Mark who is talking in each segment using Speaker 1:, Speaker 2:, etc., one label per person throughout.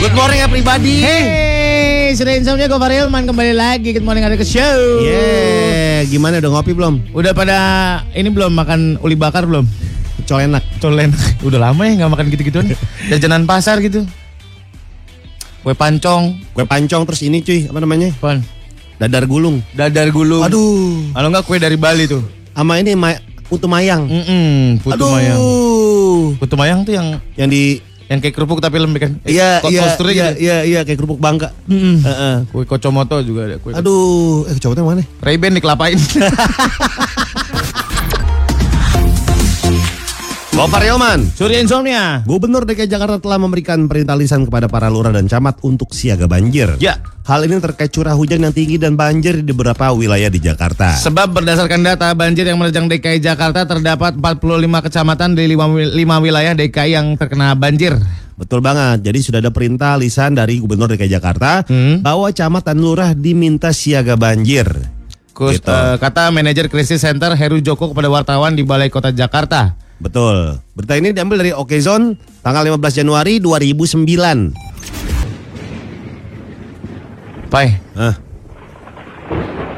Speaker 1: Good morning ya pribadi.
Speaker 2: Hey, sudah insomnia gue Farilman kembali lagi Good Morning Ada ke Show.
Speaker 1: Yeah, gimana udah ngopi belum?
Speaker 2: Udah pada ini belum makan uli bakar belum?
Speaker 1: Col enak.
Speaker 2: Colen. Udah lama ya nggak makan gitu-gituan. Jajanan pasar gitu. Kue pancong,
Speaker 1: Kue pancong terus ini cuy, apa namanya?
Speaker 2: pon.
Speaker 1: Dadar gulung.
Speaker 2: Dadar gulung.
Speaker 1: Aduh.
Speaker 2: Kalau nggak kue dari Bali tuh.
Speaker 1: Sama ini ma putu mayang.
Speaker 2: Mm-mm, putu mayang. Putu mayang tuh yang
Speaker 1: Yang di
Speaker 2: yang kayak kerupuk tapi lembek kan? Eh,
Speaker 1: Iya,
Speaker 2: ko-
Speaker 1: iya,
Speaker 2: toasternya
Speaker 1: iya,
Speaker 2: gitu.
Speaker 1: iya, iya, kayak kerupuk bangka.
Speaker 2: Mm-mm.
Speaker 1: Heeh.
Speaker 2: Kue kocomoto juga ada kue.
Speaker 1: Aduh, eh cowoknya mana?
Speaker 2: Ray-Ban dikelapain.
Speaker 1: Gopar Yoman.
Speaker 2: Surya insomnia.
Speaker 1: Gubernur DKI Jakarta telah memberikan perintah lisan kepada para lurah dan camat untuk siaga banjir.
Speaker 2: Ya.
Speaker 1: Hal ini terkait curah hujan yang tinggi dan banjir di beberapa wilayah di Jakarta.
Speaker 2: Sebab berdasarkan data banjir yang menerjang DKI Jakarta terdapat 45 kecamatan di 5, wilayah DKI yang terkena banjir.
Speaker 1: Betul banget. Jadi sudah ada perintah lisan dari Gubernur DKI Jakarta
Speaker 2: Hmm.
Speaker 1: bahwa camat dan lurah diminta siaga banjir.
Speaker 2: Kus-
Speaker 1: Gitu.
Speaker 2: eh, kata manajer krisis center Heru Joko kepada wartawan di Balai Kota Jakarta.
Speaker 1: Betul. Berita ini diambil dari Okezone tanggal 15 Januari 2009.
Speaker 2: Pai,
Speaker 1: Ah,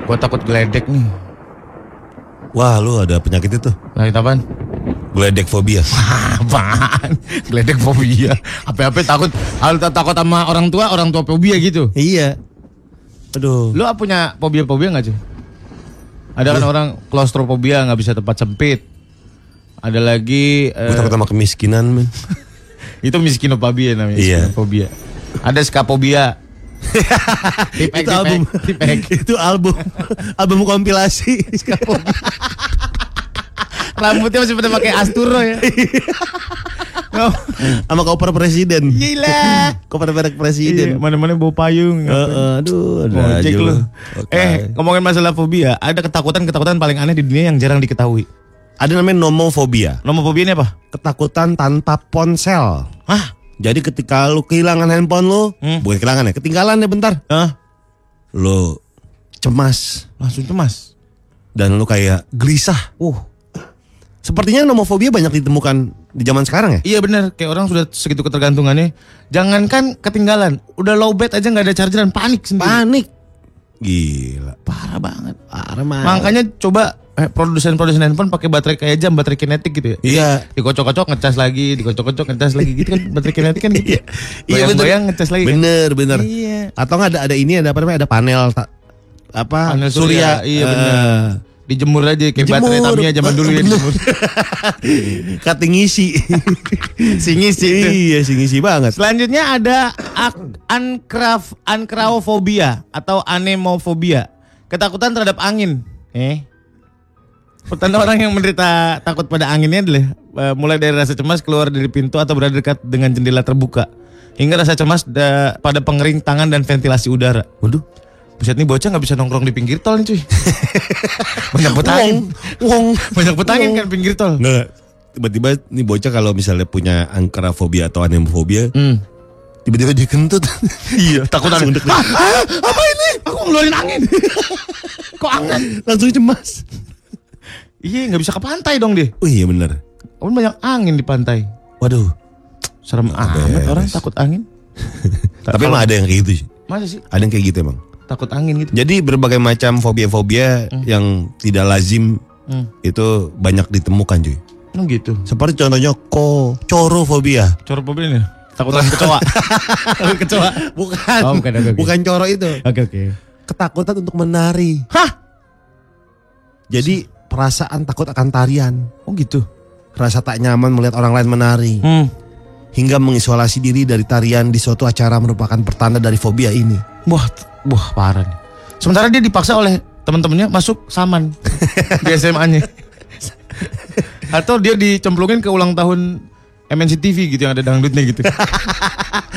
Speaker 2: gua takut geledek nih.
Speaker 1: wah lu ada penyakit itu.
Speaker 2: Lagi apaan?
Speaker 1: Gledek fobia.
Speaker 2: Apaan? Geledek fobia. Apa-apa takut. Kalau tak- takut sama orang tua, orang tua fobia gitu.
Speaker 1: iya. Aduh.
Speaker 2: Lu ah punya fobia-fobia nggak cuy? Ada kan orang klaustrofobia nggak bisa tempat sempit. Ada lagi eh,
Speaker 1: Gue takut sama kemiskinan, men.
Speaker 2: Itu miskinofobia namanya.
Speaker 1: Iya.
Speaker 2: Miskinofobia. Ada skapobia. tipek,
Speaker 1: itu album.
Speaker 2: tipek, tipek.
Speaker 1: itu album. album kompilasi.
Speaker 2: Rambutnya masih pada pakai asturo ya. Oh,
Speaker 1: Sama koper presiden.
Speaker 2: Iya. Gila. Nah,
Speaker 1: Koper merek
Speaker 2: Iya,
Speaker 1: presiden.
Speaker 2: mana-mana bawa payung.
Speaker 1: Eh, eh, aduh, ada
Speaker 2: Ngojek
Speaker 1: aja
Speaker 2: Iya. lu.
Speaker 1: lu.
Speaker 2: Eh, ngomongin masalah fobia, ada ketakutan-ketakutan paling aneh di dunia yang jarang diketahui.
Speaker 1: Ada namanya nomofobia.
Speaker 2: Nomor fobia ini apa?
Speaker 1: ketakutan tanpa ponsel.
Speaker 2: Hah?
Speaker 1: Jadi ketika lu kehilangan handphone lu,
Speaker 2: Hmm.
Speaker 1: bukan kehilangan ya, ketinggalan ya bentar.
Speaker 2: Hah?
Speaker 1: Lu cemas
Speaker 2: Langsung cemas.
Speaker 1: dan lu kayak gelisah.
Speaker 2: Uh.
Speaker 1: Sepertinya nomofobia banyak ditemukan di zaman sekarang ya.
Speaker 2: Iya bener, kayak orang sudah segitu ketergantungannya. Jangankan ketinggalan, udah low bed aja nggak ada chargeran, panik sendiri.
Speaker 1: Panik. Gila.
Speaker 2: Parah banget.
Speaker 1: Parah man.
Speaker 2: Makanya coba eh, produsen-produsen handphone pakai baterai kayak jam baterai kinetik gitu ya.
Speaker 1: Iya.
Speaker 2: Dikocok-kocok ngecas lagi, dikocok-kocok ngecas lagi gitu kan baterai kinetik kan gitu.
Speaker 1: Iya bener.
Speaker 2: Bayang-bayang ngecas lagi. kan.
Speaker 1: Bener bener.
Speaker 2: Iya.
Speaker 1: Atau nggak ada ada ini ada apa namanya ada panel ta- apa
Speaker 2: Panel surya,
Speaker 1: surya.
Speaker 2: iya,
Speaker 1: Eh,
Speaker 2: bener. Dijemur aja kayak
Speaker 1: Dijemur.
Speaker 2: baterai Tamiya zaman dulu ya.
Speaker 1: Bener.
Speaker 2: dijemur.
Speaker 1: Kating isi.
Speaker 2: Singis sih.
Speaker 1: iya, singisi banget.
Speaker 2: Selanjutnya ada ak- ankraf ankraofobia atau anemofobia. Ketakutan terhadap angin. Eh. Pertanda orang yang menderita takut pada anginnya adalah eh, mulai dari rasa cemas keluar dari pintu atau berada dekat dengan jendela terbuka hingga rasa cemas da- pada pengering tangan dan ventilasi udara.
Speaker 1: Waduh.
Speaker 2: Buset nih bocah nggak bisa nongkrong di pinggir tol nih cuy. Banyak petangin.
Speaker 1: Wong, wong.
Speaker 2: Banyak petangin kan pinggir tol.
Speaker 1: Nggak, tiba-tiba nih bocah kalau misalnya punya angkerafobia atau anemofobia,
Speaker 2: Hmm.
Speaker 1: tiba-tiba dia kentut.
Speaker 2: Iya, takut angin. Ah, ah, apa ini? Aku ngeluarin angin. Kok angin?
Speaker 1: Langsung cemas.
Speaker 2: Iya, nggak bisa ke pantai dong dia.
Speaker 1: Oh iya bener.
Speaker 2: Kan banyak angin di pantai.
Speaker 1: Waduh.
Speaker 2: Serem amat
Speaker 1: beres.
Speaker 2: orang takut angin.
Speaker 1: Tapi emang ada yang kayak gitu sih.
Speaker 2: Masa sih
Speaker 1: Ada yang kayak gitu emang.
Speaker 2: takut angin gitu?
Speaker 1: Jadi berbagai macam fobia-fobia yang tidak lazim
Speaker 2: Hmm.
Speaker 1: itu banyak ditemukan cuy.
Speaker 2: Emang gitu.
Speaker 1: Seperti contohnya ko corofobia.
Speaker 2: Coro mobil ini. ya? Takutan kecoa. Takut kecoa.
Speaker 1: Bukan.
Speaker 2: Oh, bukan, oke, oke.
Speaker 1: Bukan coro itu.
Speaker 2: Oke oke.
Speaker 1: Ketakutan untuk menari.
Speaker 2: Hah?
Speaker 1: Jadi perasaan takut akan tarian.
Speaker 2: Oh gitu.
Speaker 1: Rasa tak nyaman melihat orang lain menari.
Speaker 2: Hmm.
Speaker 1: hingga mengisolasi diri dari tarian di suatu acara merupakan pertanda dari fobia ini.
Speaker 2: Wah, t- wah parah nih. Sementara dia dipaksa oleh teman-temannya masuk saman di SMA-nya. Atau dia dicemplungin ke ulang tahun MNC TV gitu yang ada dangdutnya gitu.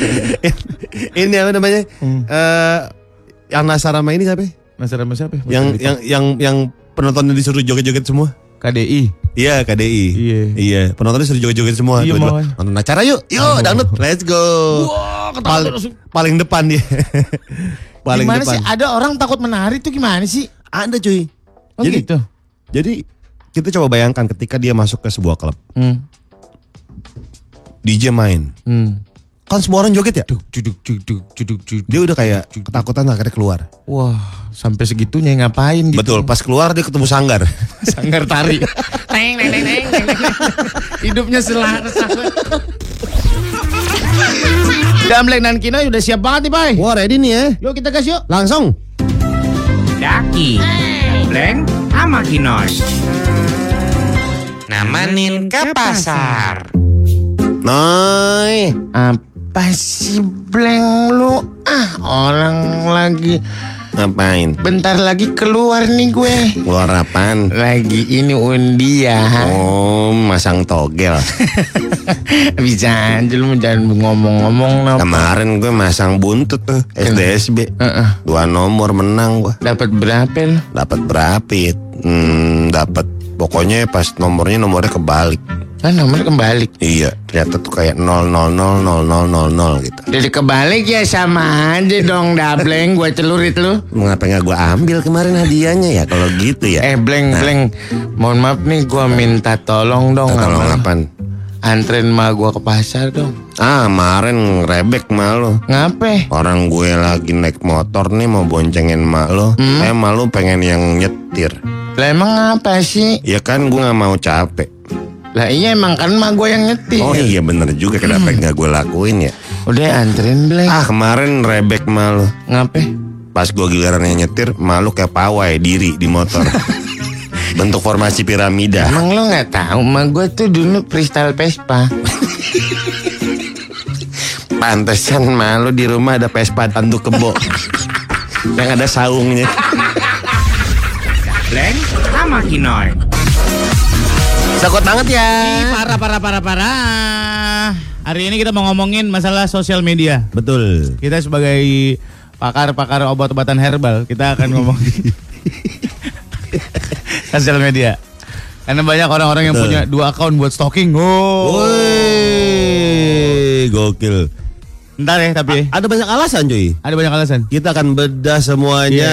Speaker 1: ini apa namanya? Eh, yang Nasarama ini siapa? ya?
Speaker 2: Hmm. Masalah siapa? ya?
Speaker 1: Yang yang yang yang penontonnya disuruh joget-joget semua.
Speaker 2: KDI.
Speaker 1: Iya KDI.
Speaker 2: Iya.
Speaker 1: Iya, penontonnya disuruh joget-joget semua.
Speaker 2: Iya,
Speaker 1: Dua-dua.
Speaker 2: makanya.
Speaker 1: Nonton acara yuk. Yuk, dangdut. Let's go.
Speaker 2: Wah,
Speaker 1: Pal- paling depan dia. paling
Speaker 2: gimana
Speaker 1: depan.
Speaker 2: sih ada orang takut menari tuh gimana sih?
Speaker 1: Ada cuy.
Speaker 2: Oh
Speaker 1: jadi
Speaker 2: gitu.
Speaker 1: jadi kita coba bayangkan
Speaker 3: Hmm,
Speaker 1: ketika dia masuk ke sebuah klub,
Speaker 2: Hmm.
Speaker 1: DJ main.
Speaker 2: Hmm.
Speaker 1: Kan semua orang joget ya?
Speaker 3: Duk, duduk, duduk, duduk, duduk.
Speaker 1: Dia udah kayak ketakutan akhirnya keluar.
Speaker 3: Wah, sampai segitunya ngapain gitu.
Speaker 1: Betul, pas keluar dia ketemu sanggar.
Speaker 3: Sanggar tari. Teng, teng, teng, teng, teng, teng. Hidupnya selaras. Damlek dan Kino udah siap banget nih, Bay.
Speaker 1: Wah, ready nih ya.
Speaker 3: Yuk kita gas yuk.
Speaker 1: Langsung.
Speaker 4: Daki, Bleng, sama Kinos. Namanin ke pasar.
Speaker 1: Noi.
Speaker 3: Apa sih Bleng lu? Ah, orang lagi
Speaker 1: Ngapain?
Speaker 3: bentar lagi keluar nih gue.
Speaker 1: Keluar apaan?
Speaker 3: Lagi ini undian.
Speaker 1: Oh, masang togel.
Speaker 3: Bisa aja lu jangan ngomong-ngomong nop.
Speaker 1: Kemarin gue masang buntut tuh SDSB.
Speaker 3: Heeh.
Speaker 1: Dua nomor menang gue.
Speaker 3: Dapat berapa lu?
Speaker 1: Dapat berapa? It? Hmm, dapat pokoknya pas nomornya nomornya kebalik.
Speaker 3: Kan nomor kebalik.
Speaker 1: Iya, ternyata tuh kayak 0000000 gitu.
Speaker 3: Jadi kebalik ya sama aja dong dableng gue celurit lu.
Speaker 1: Mengapa nggak gue ambil kemarin hadiahnya ya kalau gitu ya?
Speaker 3: Eh bleng bleng, mohon maaf nih gue minta tolong dong.
Speaker 1: kalau
Speaker 3: sama lu.
Speaker 1: ngapain?
Speaker 3: Antren ma gue ke pasar dong.
Speaker 1: Ah, kemarin ngerebek malu.
Speaker 3: Ngape?
Speaker 1: Orang gue lagi naik motor nih mau boncengin mak lo Eh malu pengen yang nyetir
Speaker 3: Lah emang apa sih?
Speaker 1: Ya kan gue gak mau capek
Speaker 3: Lah iya emang kan ma gue yang nyetir.
Speaker 1: Oh iya bener juga kenapa nggak gue lakuin ya
Speaker 3: Udah antren bleng.
Speaker 1: Ah kemarin rebek malu
Speaker 3: Ngape?
Speaker 1: Pas gue giliran yang nyetir malu kayak pawai diri di motor Bentuk formasi piramida
Speaker 3: Emang lu nggak tahu ma gue tuh dulu freestyle Vespa.
Speaker 1: Pantesan malu di rumah ada Vespa tanduk kebo Yang ada saungnya
Speaker 4: Bleng, sama Kinos.
Speaker 1: Sakot banget ya
Speaker 2: Parah, parah, parah, parah. Hari ini kita mau ngomongin masalah sosial media.
Speaker 1: Betul
Speaker 3: Kita sebagai
Speaker 2: Pakar-pakar obat-obatan herbal, kita akan ngomongin sosial media. Karena banyak orang-orang yang
Speaker 1: Betul.
Speaker 2: punya dua akun buat stalking. Oh.
Speaker 1: Woi, gokil
Speaker 2: Ntar ya, tapi
Speaker 1: Ada banyak alasan cuy
Speaker 2: ada banyak alasan.
Speaker 1: Kita akan bedah semuanya.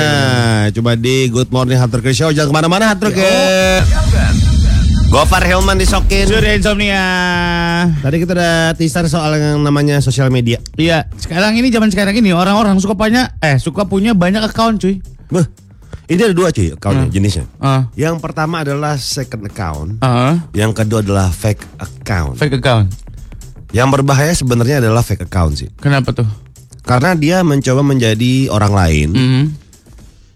Speaker 1: Coba di Good Morning Hunter Chris Show. Jangan kemana-mana ya. Hunter Chris. Gofar Helman disokin.
Speaker 2: Sudah insomnia.
Speaker 1: Tadi kita udah teaser soal yang namanya sosial media.
Speaker 2: Iya, sekarang ini zaman sekarang ini orang-orang suka punya eh suka punya banyak account, cuy.
Speaker 1: Beh, ini ada dua cuy accountnya jenisnya.
Speaker 2: Ah.
Speaker 1: Hmm. Yang pertama adalah second account.
Speaker 2: Ah,
Speaker 1: Yang kedua adalah fake account.
Speaker 2: fake account.
Speaker 1: Yang berbahaya sebenarnya adalah fake account sih.
Speaker 2: Kenapa tuh?
Speaker 1: Karena dia mencoba menjadi orang lain
Speaker 2: Mhm.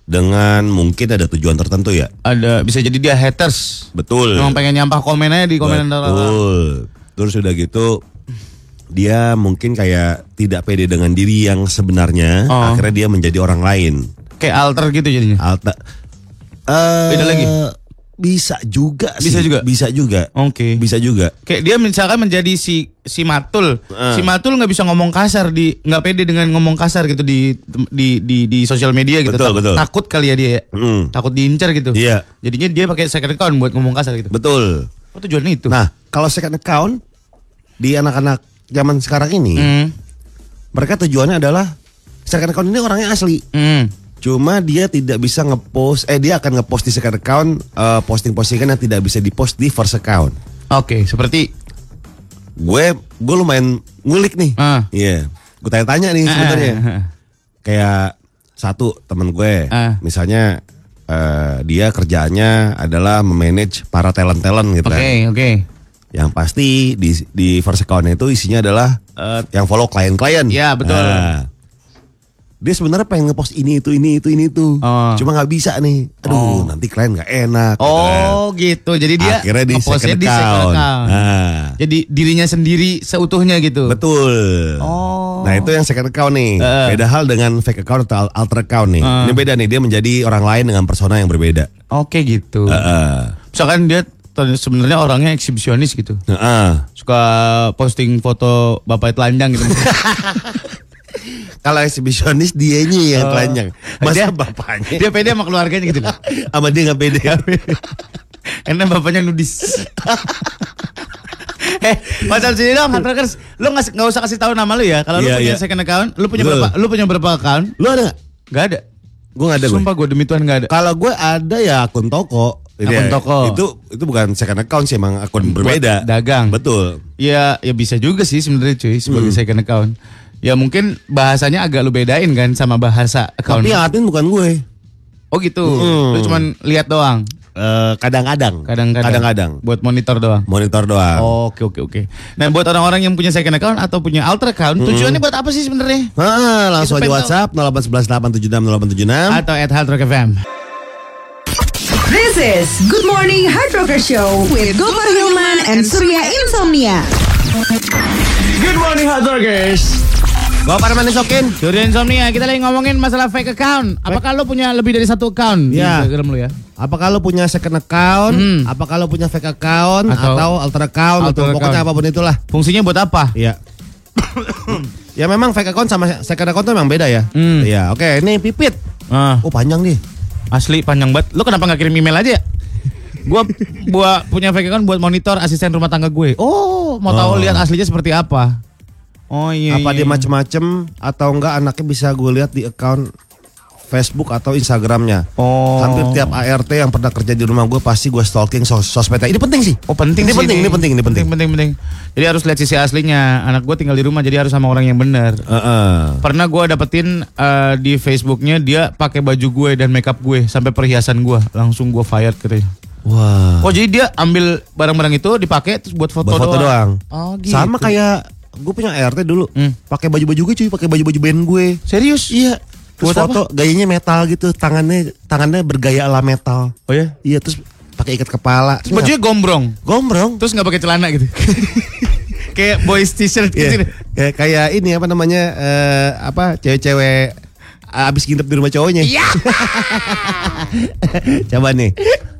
Speaker 1: dengan mungkin ada tujuan tertentu ya.
Speaker 2: Ada bisa jadi dia haters.
Speaker 1: Betul.
Speaker 2: Emang pengen nyampah komen aja di komen orang.
Speaker 1: Betul. Terus udah gitu dia mungkin kayak tidak pede dengan diri yang sebenarnya,
Speaker 2: Oh.
Speaker 1: akhirnya dia menjadi orang lain.
Speaker 2: Kayak alter gitu jadinya.
Speaker 1: Alta Eh,
Speaker 2: Beda lagi?
Speaker 1: Bisa juga sih.
Speaker 2: Bisa juga?
Speaker 1: Bisa juga.
Speaker 2: Oke.
Speaker 1: Bisa juga.
Speaker 2: Kayak dia misalkan menjadi si si Matul.
Speaker 1: Eh.
Speaker 2: Si Matul nggak bisa ngomong kasar di nggak pede dengan ngomong kasar gitu di di di di sosial media gitu.
Speaker 1: Betul, betul.
Speaker 2: Takut kali ya dia. ya.
Speaker 1: Mm.
Speaker 2: Takut diincar gitu.
Speaker 1: Iya.
Speaker 2: Jadinya dia pakai second account buat ngomong kasar gitu.
Speaker 1: Betul.
Speaker 2: Apa tujuannya itu?
Speaker 1: Nah, kalau second account di anak-anak zaman sekarang ini,
Speaker 2: Hmm.
Speaker 1: mereka tujuannya adalah second account ini orangnya asli.
Speaker 2: Hmm.
Speaker 1: Cuma dia tidak bisa ngepost, eh dia akan ngepost di second account eh, posting-postingan yang tidak bisa dipost di first account.
Speaker 2: Oke, seperti
Speaker 1: gue gue lumayan ngulik nih.
Speaker 2: Ah.
Speaker 1: Iya. Gue tanya-tanya nih sebenarnya.
Speaker 2: Ah.
Speaker 1: Kayak satu temen gue,
Speaker 2: Ah.
Speaker 1: misalnya eh, dia kerjaannya adalah memanage para talent talent gitu.
Speaker 2: Oke,
Speaker 1: kan.
Speaker 2: oke.
Speaker 1: Yang pasti di di first account itu isinya adalah eh, yang follow klien-klien.
Speaker 2: Eh, Iya, betul.
Speaker 1: Nah, dia sebenarnya pengen ngepost ini itu ini itu ini itu,
Speaker 2: Oh.
Speaker 1: cuma nggak bisa nih. Aduh, nanti klien nggak enak. gitu kan.
Speaker 2: Oh, gitu. Jadi dia
Speaker 1: akhirnya di
Speaker 2: ngepostnya
Speaker 1: second
Speaker 2: di second
Speaker 1: account.
Speaker 2: account.
Speaker 1: Nah.
Speaker 2: Jadi dirinya sendiri seutuhnya gitu.
Speaker 1: Betul.
Speaker 2: Oh. Eh.
Speaker 1: Nah itu yang second account nih.
Speaker 2: Heeh.
Speaker 1: Beda hal dengan fake account atau al- alter account nih.
Speaker 2: Heeh.
Speaker 1: Ini beda nih. Dia menjadi orang lain dengan persona yang berbeda. Eh.
Speaker 2: Oke, gitu.
Speaker 1: Heeh.
Speaker 2: Misalkan dia ter- sebenarnya orangnya eksibisionis gitu.
Speaker 1: Heeh.
Speaker 2: suka posting foto bapak telanjang gitu.
Speaker 1: Kalau exhibitionist dianya yang telanjang. Masa
Speaker 2: Oh. Dia-
Speaker 1: bapaknya
Speaker 2: dia pede sama keluarganya gitu loh.
Speaker 1: sama dia nggak beda.
Speaker 2: Karena bapaknya nudis. eh, macam sini dong, Hatrackers. Lu nggak nggak usah kasih tahu nama lu ya. Kalau lu
Speaker 1: Iya,
Speaker 2: punya
Speaker 1: iya.
Speaker 2: second account, lu punya
Speaker 1: Betul.
Speaker 2: berapa? Lu punya berapa account?
Speaker 1: Lu ada?
Speaker 2: Gak ada.
Speaker 1: Gue nggak ada. gue.
Speaker 2: Sumpah gue demi Tuhan gak ada.
Speaker 1: Kalau gue ada ya akun toko.
Speaker 2: Akun
Speaker 1: Iya,
Speaker 2: toko.
Speaker 1: Itu itu bukan second account sih emang akun berbeda.
Speaker 2: dagang.
Speaker 1: Betul.
Speaker 2: Ya, ya bisa juga sih sebenarnya cuy sebagai
Speaker 1: Hmm.
Speaker 2: second account. Ya mungkin bahasanya agak lu bedain kan sama bahasa account.
Speaker 1: Tapi yang admin bukan gue.
Speaker 2: Oh gitu.
Speaker 1: Hmm.
Speaker 2: Lu cuman lihat doang.
Speaker 1: Eh, Kadang-kadang.
Speaker 2: Kadang-kadang.
Speaker 1: Kadang-kadang. Oh.
Speaker 2: Buat monitor doang.
Speaker 1: Monitor doang.
Speaker 2: Oke oke oke. Nah buat orang-orang yang punya second account atau punya alter account, tujuannya buat apa sih sebenarnya?
Speaker 1: Ah, langsung
Speaker 2: Itu
Speaker 1: aja
Speaker 2: pengen
Speaker 1: WhatsApp 0811 876 0876.
Speaker 2: Atau at Hard Rock FM.
Speaker 5: This is Good Morning Hard Rocker Show with Gopar Hilman and Surya Insomnia.
Speaker 2: Good morning Hard Rockers.
Speaker 1: Gua Parman Sokin.
Speaker 2: Surya Insomnia, kita lagi ngomongin masalah fake account. Apakah lo punya lebih dari satu account di
Speaker 1: Ya.
Speaker 2: Instagram lo ya?
Speaker 1: Apa kalau punya second account?
Speaker 2: Hmm.
Speaker 1: Apa kalau punya fake account atau,
Speaker 2: Atau-
Speaker 1: alter account
Speaker 2: Alter
Speaker 1: atau pokoknya
Speaker 2: account.
Speaker 1: apapun itulah.
Speaker 2: Fungsinya buat apa?
Speaker 1: Iya. ya memang fake account sama second account tuh memang beda ya.
Speaker 2: Hmm.
Speaker 1: Iya, oke ini pipit.
Speaker 2: Ah,
Speaker 1: Oh panjang nih.
Speaker 2: asli panjang banget. Lo kenapa nggak kirim email aja? gua gua punya fake account buat monitor asisten rumah tangga gue. Oh, mau
Speaker 1: Oh.
Speaker 2: tahu lihat aslinya seperti apa? Oh iya.
Speaker 1: Apa
Speaker 2: iya.
Speaker 1: dia macem-macem atau enggak anaknya bisa gue lihat di account Facebook atau Instagramnya.
Speaker 2: Oh.
Speaker 1: Hampir tiap ART yang pernah kerja di rumah gue pasti gue stalking sos sosmednya. Ini penting sih.
Speaker 2: Oh penting
Speaker 1: ini
Speaker 2: sih
Speaker 1: penting, ini penting, ini penting.
Speaker 2: penting, penting. Jadi harus lihat sisi aslinya. Anak gue tinggal di rumah, jadi harus sama orang yang benar.
Speaker 1: Heeh.
Speaker 2: Pernah gue dapetin eh, di Facebooknya dia pakai baju gue dan makeup gue sampai perhiasan gue, langsung gue fired katanya.
Speaker 1: Ah.
Speaker 2: ya.
Speaker 1: Wah.
Speaker 2: Oh jadi dia ambil barang-barang itu dipakai terus buat foto,
Speaker 1: Buat foto doang.
Speaker 2: Oh gitu.
Speaker 1: Sama kayak gue punya ART dulu.
Speaker 2: Hmm.
Speaker 1: Pakai baju-baju gue cuy, pakai baju-baju band gue.
Speaker 2: Serius? Iya.
Speaker 1: Terus foto gayanya metal gitu, tangannya tangannya bergaya ala metal.
Speaker 2: Oh ya.
Speaker 1: Iya, terus pakai ikat kepala. Terus
Speaker 2: Bajunya gombrong.
Speaker 1: nggak- gombrong.
Speaker 2: Terus nggak pakai celana gitu. Kayak boys t-shirt
Speaker 1: Iya.
Speaker 2: gitu.
Speaker 1: Kayak kayak ini apa namanya? eh, apa cewek-cewek eh, abis ngintip di rumah cowoknya. Iya. Coba nih.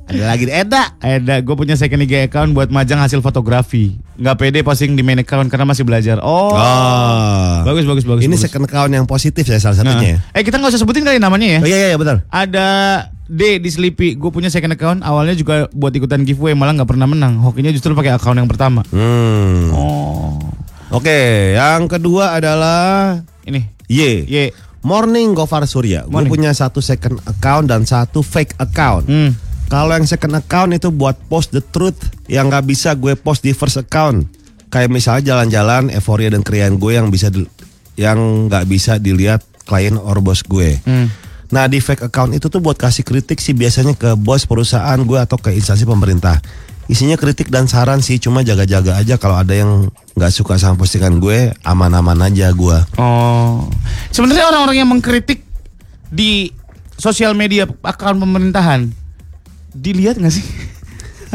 Speaker 1: Ada lagi nih, Eda.
Speaker 2: Ada, gue punya second IG account buat majang hasil fotografi. Nggak pede posting di main account karena masih belajar. Oh. Bagus, bagus, bagus.
Speaker 1: Ah. Ini
Speaker 2: bagus.
Speaker 1: second account yang positif ya salah
Speaker 2: Nah.
Speaker 1: satunya.
Speaker 2: Eh kita nggak usah sebutin kali namanya ya.
Speaker 1: Oh iya iya, iya benar.
Speaker 2: Ada D di Slipi, gue punya second account. Awalnya juga buat ikutan giveaway, malah nggak pernah menang. Hokinya justru pakai account yang pertama.
Speaker 1: Hmm.
Speaker 2: Oh,
Speaker 1: Oke, yang kedua adalah
Speaker 2: ini.
Speaker 1: Y.
Speaker 2: Ye.
Speaker 1: Morning Gofar Surya. Gue
Speaker 2: Morning.
Speaker 1: punya satu second account dan satu fake account.
Speaker 2: Hmm.
Speaker 1: Kalau yang second account itu buat post the truth yang nggak bisa gue post di first account. Kayak misalnya jalan-jalan euforia dan kerian gue yang bisa di- yang nggak bisa dilihat klien or bos gue. Nah di fake account itu tuh buat kasih kritik sih biasanya ke bos perusahaan gue atau ke instansi pemerintah. Isinya kritik dan saran sih cuma jaga-jaga aja kalau ada yang nggak suka sama postingan gue aman-aman aja gue.
Speaker 2: Oh. Sebenarnya orang-orang yang mengkritik di sosial media account pemerintahan dilihat nggak sih?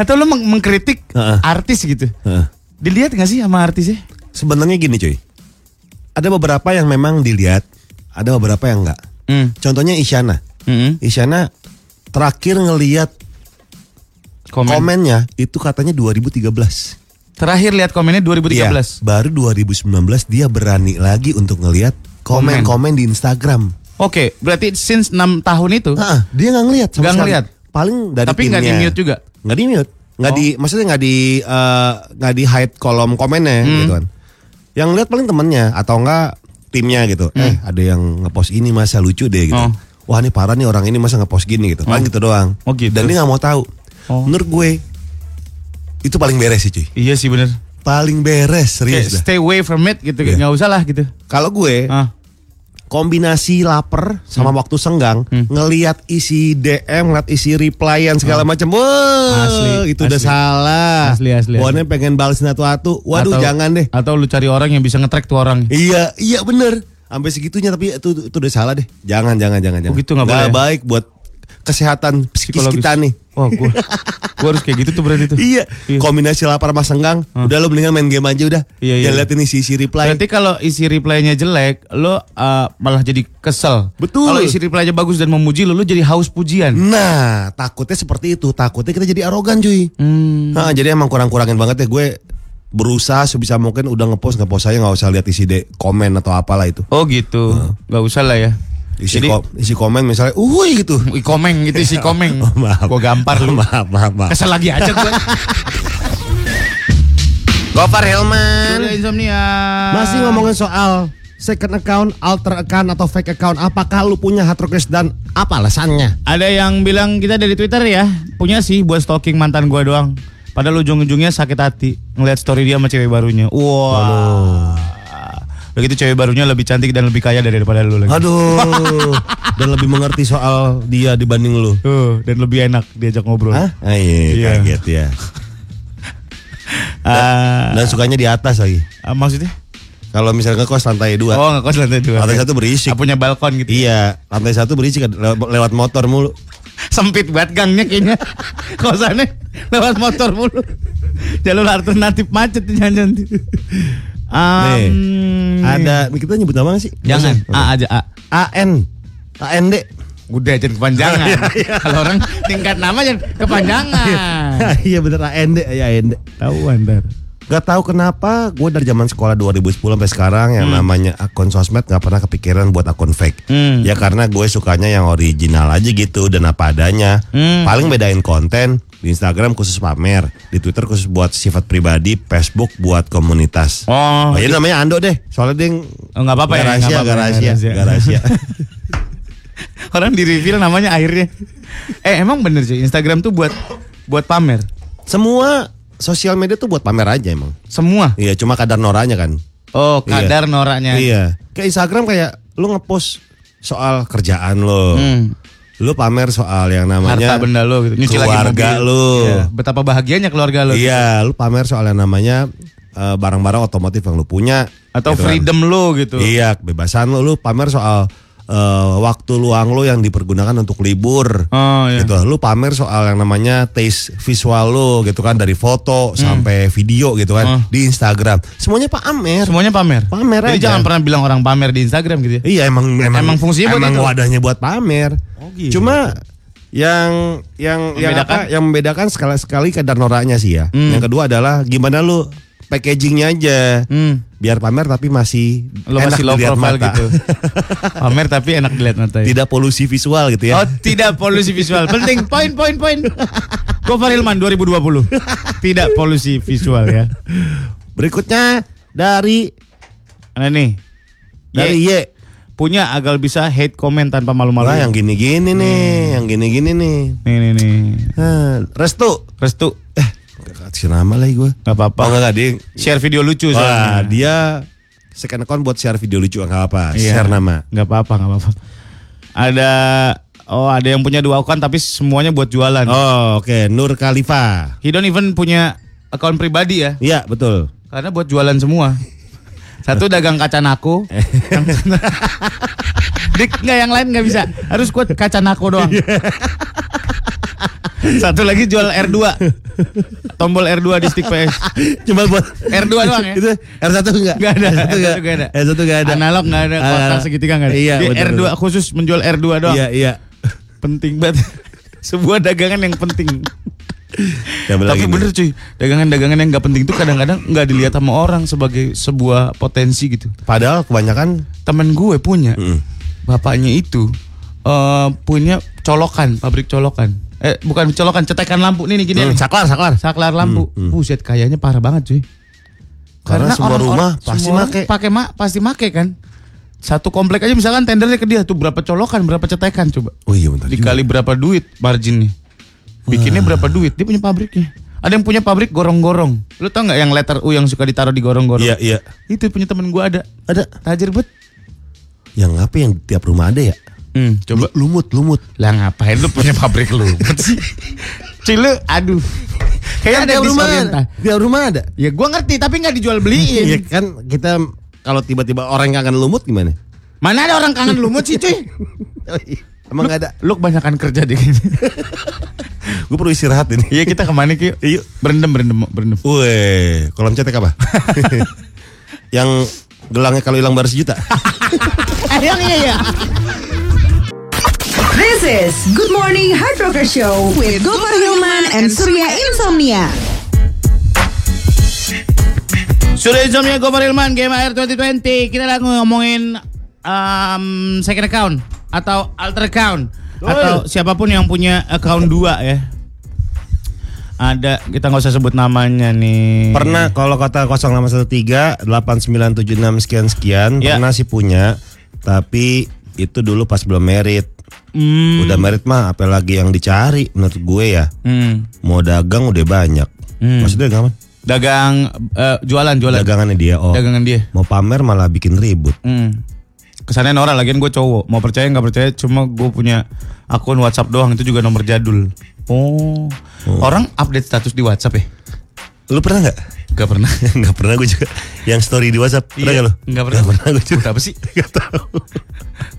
Speaker 2: Atau lo meng- mengkritik
Speaker 1: Heeh.
Speaker 2: artis gitu?
Speaker 1: Heeh.
Speaker 2: Dilihat nggak sih sama artisnya?
Speaker 1: Sebenarnya gini cuy, ada beberapa yang memang dilihat, ada beberapa yang nggak.
Speaker 2: Hmm.
Speaker 1: Contohnya Isyana.
Speaker 2: Mm-mm.
Speaker 1: Isyana terakhir ngeliat
Speaker 2: Komen.
Speaker 1: komennya itu katanya 2013.
Speaker 2: Terakhir lihat komennya 2013.
Speaker 1: Iya, baru 2019 dia berani lagi untuk ngeliat
Speaker 2: Komen.
Speaker 1: komen-komen di Instagram.
Speaker 2: Oke, berarti since 6 tahun itu.
Speaker 1: Heeh, dia nggak ngeliat sama
Speaker 2: Nggak
Speaker 1: sekali.
Speaker 2: ngeliat.
Speaker 1: Paling dari
Speaker 2: Tapi nggak
Speaker 1: timnya.
Speaker 2: di-mute juga?
Speaker 1: Nggak di mute. Nggak
Speaker 2: Oh.
Speaker 1: di maksudnya nggak di eh, nggak di hide kolom komennya
Speaker 2: Hmm.
Speaker 1: gitu kan. Yang lihat paling temennya atau enggak timnya gitu. Eh, ada yang ngepost ini masa lucu deh gitu.
Speaker 2: Hmm. Oh.
Speaker 1: Wah, ini parah nih orang ini masa ngepost gini gitu. Paling gitu doang.
Speaker 2: Oh, gitu.
Speaker 1: Dan dia nggak mau tahu.
Speaker 2: Oh.
Speaker 1: Menurut gue itu paling beres sih, cuy.
Speaker 2: Iya sih bener.
Speaker 1: Paling
Speaker 2: Kayak
Speaker 1: beres, serius dah.
Speaker 2: stay away from it gitu,
Speaker 1: Iya.
Speaker 2: nggak usah lah gitu.
Speaker 1: Kalau gue
Speaker 2: Ah.
Speaker 1: kombinasi lapar sama
Speaker 2: Hmm.
Speaker 1: waktu senggang ngelihat isi DM ngeliat isi replyan segala macam wah
Speaker 2: Ah. Asli,
Speaker 1: itu udah
Speaker 2: asli.
Speaker 1: salah
Speaker 2: Asli, asli,
Speaker 1: Bawahnya pengen balas satu waduh
Speaker 2: Atau-
Speaker 1: jangan deh
Speaker 2: Atau lu cari orang yang bisa ngetrack tuh orang.
Speaker 1: iya iya bener sampai segitunya tapi itu itu udah salah deh jangan jangan jangan jangan
Speaker 2: gitu nggak boleh ya?
Speaker 1: baik buat kesehatan psikis
Speaker 2: Psikologis.
Speaker 1: kita nih
Speaker 2: Wah, gua, gua harus kayak gitu tuh berarti tuh.
Speaker 1: Iya, kombinasi lapar sama senggang. Udah lo mendingan main game aja udah.
Speaker 2: Ah. Iya, iya.
Speaker 1: Jangan liatin isi-isi reply.
Speaker 2: Berarti kalau isi reply-nya jelek, lo uh, malah jadi kesel.
Speaker 1: Betul.
Speaker 2: Kalau isi reply-nya bagus dan memuji lo, lo jadi haus pujian.
Speaker 1: Nah, takutnya seperti itu. Takutnya kita jadi arogan, cuy.
Speaker 2: Hmm.
Speaker 1: Nah, jadi emang kurang-kurangin banget ya gue berusaha sebisa mungkin udah ngepost ngepost saya nggak usah lihat isi de komen atau apalah itu.
Speaker 2: Oh gitu, nggak usah lah ya.
Speaker 1: Hmm. Isi
Speaker 2: jadi,
Speaker 1: ko- isi komen misalnya, uhui gitu.
Speaker 2: i komeng gitu isi komeng.
Speaker 1: Oh, maaf.
Speaker 2: Gua gampar lu.
Speaker 1: maaf, maaf, maaf.
Speaker 2: Kesel lagi aja gua.
Speaker 1: Gopar Helman.
Speaker 2: Udah insomnia.
Speaker 1: Masih ngomongin soal second account, alter account atau fake account? Apakah lu punya hard rockers dan apa alasannya?
Speaker 2: Ada yang bilang kita dari Twitter ya, punya sih buat stalking mantan gua doang. Padahal ujung-ujungnya sakit hati ngelihat story dia sama cewek barunya. Wah. Begitu cewek barunya lebih cantik dan lebih kaya daripada lu lagi.
Speaker 1: Aduh, dan lebih mengerti soal dia dibanding lu.
Speaker 2: Tuh, dan lebih enak diajak ngobrol.
Speaker 1: Hah? Ah, iya,
Speaker 2: Iya.
Speaker 1: kaget ya.
Speaker 2: Ah,
Speaker 1: Dan sukanya di atas lagi.
Speaker 2: ah, maksudnya?
Speaker 1: Kalau misalnya kos lantai dua,
Speaker 2: Oh, enggak kos lantai dua.
Speaker 1: lantai satu berisik.
Speaker 2: Ah, punya balkon gitu.
Speaker 1: Iya, lantai satu berisik lew- lewat motor mulu.
Speaker 2: Sempit banget gangnya kayaknya. Kosannya lewat motor mulu. Jalur alternatif macet jangan.
Speaker 1: Nih,
Speaker 2: Hmm.
Speaker 1: ada kita nyebut nama nggak sih?
Speaker 2: jangan
Speaker 1: A
Speaker 2: A aja ah. A.
Speaker 1: AN AND.
Speaker 2: Udah jangan kepanjangan. Kalau orang tingkat nama jangan kepanjangan.
Speaker 1: Iya bener AND ya AND.
Speaker 2: Tahu Anda.
Speaker 1: Gak tahu kenapa gue dari zaman sekolah 2010 sampai sekarang yang namanya akun sosmed gak pernah kepikiran buat akun fake.
Speaker 2: Hmm.
Speaker 1: Ya karena gue sukanya yang original aja gitu dan apa adanya.
Speaker 2: Hmm.
Speaker 1: Paling bedain konten di Instagram khusus pamer, di Twitter khusus buat sifat pribadi, Facebook buat komunitas.
Speaker 2: Oh,
Speaker 1: Oh, ini namanya Ando deh. Soalnya dia
Speaker 2: Oh, nggak apa-apa ya,
Speaker 1: gak rahasia,
Speaker 2: nggak apa-apa,
Speaker 1: gak
Speaker 2: nggak
Speaker 1: rahasia,
Speaker 2: rahasia.
Speaker 1: nggak rahasia.
Speaker 2: orang di reveal namanya akhirnya. Eh emang bener sih Instagram tuh buat buat pamer
Speaker 1: Semua sosial media tuh buat pamer aja emang.
Speaker 2: semua.
Speaker 1: Iya, cuma kadar noranya kan.
Speaker 2: Oh kadar noraknya.
Speaker 1: Iya. Kayak Instagram kayak lu ngepost soal kerjaan lo.
Speaker 2: Hmm.
Speaker 1: Lu pamer soal yang namanya
Speaker 2: Harta benda lo gitu. Nyuci
Speaker 1: keluarga
Speaker 2: lagi mobil.
Speaker 1: lu.
Speaker 2: Iya, Betapa bahagianya keluarga lo. gitu.
Speaker 1: Iya, lu pamer soal yang namanya eh, barang-barang otomotif yang lu punya
Speaker 2: Atau
Speaker 1: gitu kan.
Speaker 2: freedom lo gitu.
Speaker 1: Iya, kebebasan lu, lu pamer soal eh, waktu luang lu yang dipergunakan untuk libur.
Speaker 2: Oh, iya.
Speaker 1: Gitu. Lu pamer soal yang namanya taste visual lu gitu kan dari
Speaker 2: Hmm.
Speaker 1: foto sampai video gitu kan di Instagram. Semuanya pamer.
Speaker 2: Semuanya pamer.
Speaker 1: Pamer
Speaker 2: Jadi
Speaker 1: aja.
Speaker 2: jangan pernah bilang orang pamer di Instagram gitu ya.
Speaker 1: Iya emang emang,
Speaker 2: Emang fungsinya buat
Speaker 1: emang
Speaker 2: itu?
Speaker 1: wadahnya buat pamer.
Speaker 2: Oh, gitu.
Speaker 1: Cuma yang yang yang
Speaker 2: Membedakan?
Speaker 1: apa yang membedakan sekali sekali kadar noranya sih ya. Yang kedua adalah gimana lu packagingnya aja.
Speaker 2: Hmm.
Speaker 1: Biar pamer tapi masih
Speaker 2: Lo
Speaker 1: enak
Speaker 2: masih low
Speaker 1: dilihat
Speaker 2: profile
Speaker 1: mata.
Speaker 2: gitu. pamer tapi enak dilihat mata ya.
Speaker 1: Tidak polusi visual gitu ya.
Speaker 2: Oh tidak polusi visual Penting poin poin poin Gofar Hilman 2020 Tidak polusi visual ya
Speaker 1: Berikutnya dari
Speaker 2: Nah nih
Speaker 1: dari
Speaker 2: Ye,
Speaker 1: Ye.
Speaker 2: Punya agar bisa hate comment tanpa
Speaker 1: Wah, yang
Speaker 2: malu-malu
Speaker 1: gini-gini nih,
Speaker 2: Hmm.
Speaker 1: yang gini-gini nih.
Speaker 2: Nih nih nih
Speaker 1: Hah, Eh, Restu.
Speaker 2: Restu
Speaker 1: Eh, kasih nama lagi gue.
Speaker 2: Gak
Speaker 1: Oh,
Speaker 2: apa-apa
Speaker 1: enggak, enggak, dia
Speaker 2: Share video lucu
Speaker 1: Wah,
Speaker 2: soalnya.
Speaker 1: dia second account buat share video lucu nggak apa,
Speaker 2: Iya.
Speaker 1: share nama.
Speaker 2: Gak apa-apa gak apa-apa Ada Oh ada yang punya dua account Tapi semuanya buat jualan
Speaker 1: Oh, oke, Nur Khalifa.
Speaker 2: He don't even punya account pribadi ya
Speaker 1: Iya, betul.
Speaker 2: Karena buat jualan semua. Satu dagang kaca nako. Yang- Dik nggak yang lain nggak bisa. Harus kuat kaca nako doang. Satu lagi jual R2. Tombol R2 di stick PS.
Speaker 1: Cuma buat
Speaker 2: R2 doang ya?
Speaker 1: Itu R1 enggak?
Speaker 2: Gak ada,
Speaker 1: R1
Speaker 2: R1
Speaker 1: enggak
Speaker 2: nggak ada.
Speaker 1: R1 enggak eh, ada.
Speaker 2: Analog nggak ada,
Speaker 1: Ah,
Speaker 2: kotak segitiga nggak ada.
Speaker 1: Iya,
Speaker 2: Di
Speaker 1: betul,
Speaker 2: R2
Speaker 1: betul.
Speaker 2: khusus menjual R2 doang.
Speaker 1: Iya, iya.
Speaker 2: Penting banget. Sebuah dagangan yang penting.
Speaker 1: Yang bener
Speaker 2: Tapi
Speaker 1: lagi
Speaker 2: bener
Speaker 1: nih.
Speaker 2: cuy, dagangan-dagangan yang nggak penting tuh kadang-kadang nggak dilihat sama orang sebagai sebuah potensi gitu.
Speaker 1: Padahal kebanyakan
Speaker 2: temen gue punya
Speaker 1: Hmm.
Speaker 2: bapaknya itu eh punya colokan pabrik colokan eh bukan colokan cetekan lampu nih nih gini nih.
Speaker 1: Hmm, saklar, saklar.
Speaker 2: saklar lampu buset kayaknya parah banget cuy
Speaker 1: Hmm, Karena semua
Speaker 2: orang-orang-
Speaker 1: rumah pasti
Speaker 2: semua orang
Speaker 1: make.
Speaker 2: pakai mak pasti make kan satu komplek aja misalkan tendernya ke dia tuh berapa colokan berapa cetekan coba
Speaker 1: Oh iya, bentar.
Speaker 2: dikali berapa duit marginnya bikinnya berapa duit dia punya pabriknya ada yang punya pabrik gorong-gorong lu tau nggak yang letter U yang suka ditaruh di gorong-gorong
Speaker 1: Iya, iya.
Speaker 2: itu punya temen gue ada
Speaker 1: Ada
Speaker 2: tajir bet
Speaker 1: yang apa yang tiap rumah ada ya?
Speaker 2: Hmm, coba
Speaker 1: Lu- Lumut, lumut.
Speaker 2: Lah ngapain lu punya pabrik lu? Cilu, aduh.
Speaker 1: Kan
Speaker 2: Kayaknya ada
Speaker 1: tiap rumah ada.
Speaker 2: disorientasi.
Speaker 1: Tiap rumah ada.
Speaker 2: Ya gua ngerti tapi nggak dijual
Speaker 1: Iya
Speaker 2: beliin.
Speaker 1: kan kita kalau tiba-tiba orang yang kangen lumut gimana? Oh, iya.
Speaker 2: Mana ada orang kangen lumut sih cuy?
Speaker 1: Emang nggak ada.
Speaker 2: Lu kebanyakan kerja deh.
Speaker 1: Gue perlu istirahat ini.
Speaker 2: Iya kita kemana ki?
Speaker 1: Yuk.
Speaker 2: Berendam berendam berendam.
Speaker 1: Weh, kolam cetek apa? yang gelangnya kalau hilang baru sejuta.
Speaker 2: Eh yang iya iya.
Speaker 5: This is Good Morning Hard Rocker Show with Gopar Hilman and Surya Insomnia.
Speaker 2: Sudah ya, insomnia gue Farilman Game AR 2020 Kita lagi ngomongin um, second account Atau alter account Atau siapapun yang punya account dua ya ada kita nggak usah sebut namanya nih.
Speaker 1: Pernah kalau kata 0813 8976 sekian sekian
Speaker 2: Ya.
Speaker 1: pernah sih punya tapi itu dulu pas belum merit.
Speaker 2: Hmm.
Speaker 1: Udah merit mah apalagi yang dicari menurut gue ya.
Speaker 2: Hmm.
Speaker 1: Mau dagang udah banyak. Maksudnya gak
Speaker 2: Dagang eh, jualan jualan.
Speaker 1: Dagangannya dia oh.
Speaker 2: Dagangan dia.
Speaker 1: Mau pamer malah bikin ribut.
Speaker 2: Hmm. Kesannya Nora lagian gue kan cowok. Mau percaya nggak percaya cuma gue punya akun WhatsApp doang itu juga nomor jadul. Oh. Orang update status di WhatsApp ya?
Speaker 1: Lu pernah nggak?
Speaker 2: Gak pernah.
Speaker 1: Nggak pernah gue juga. Yang story di WhatsApp pernah
Speaker 2: Iya,
Speaker 1: nggak lu?
Speaker 2: nggak pernah.
Speaker 1: Nggak pernah gue juga.
Speaker 2: Buat apa sih?
Speaker 1: Nggak tahu.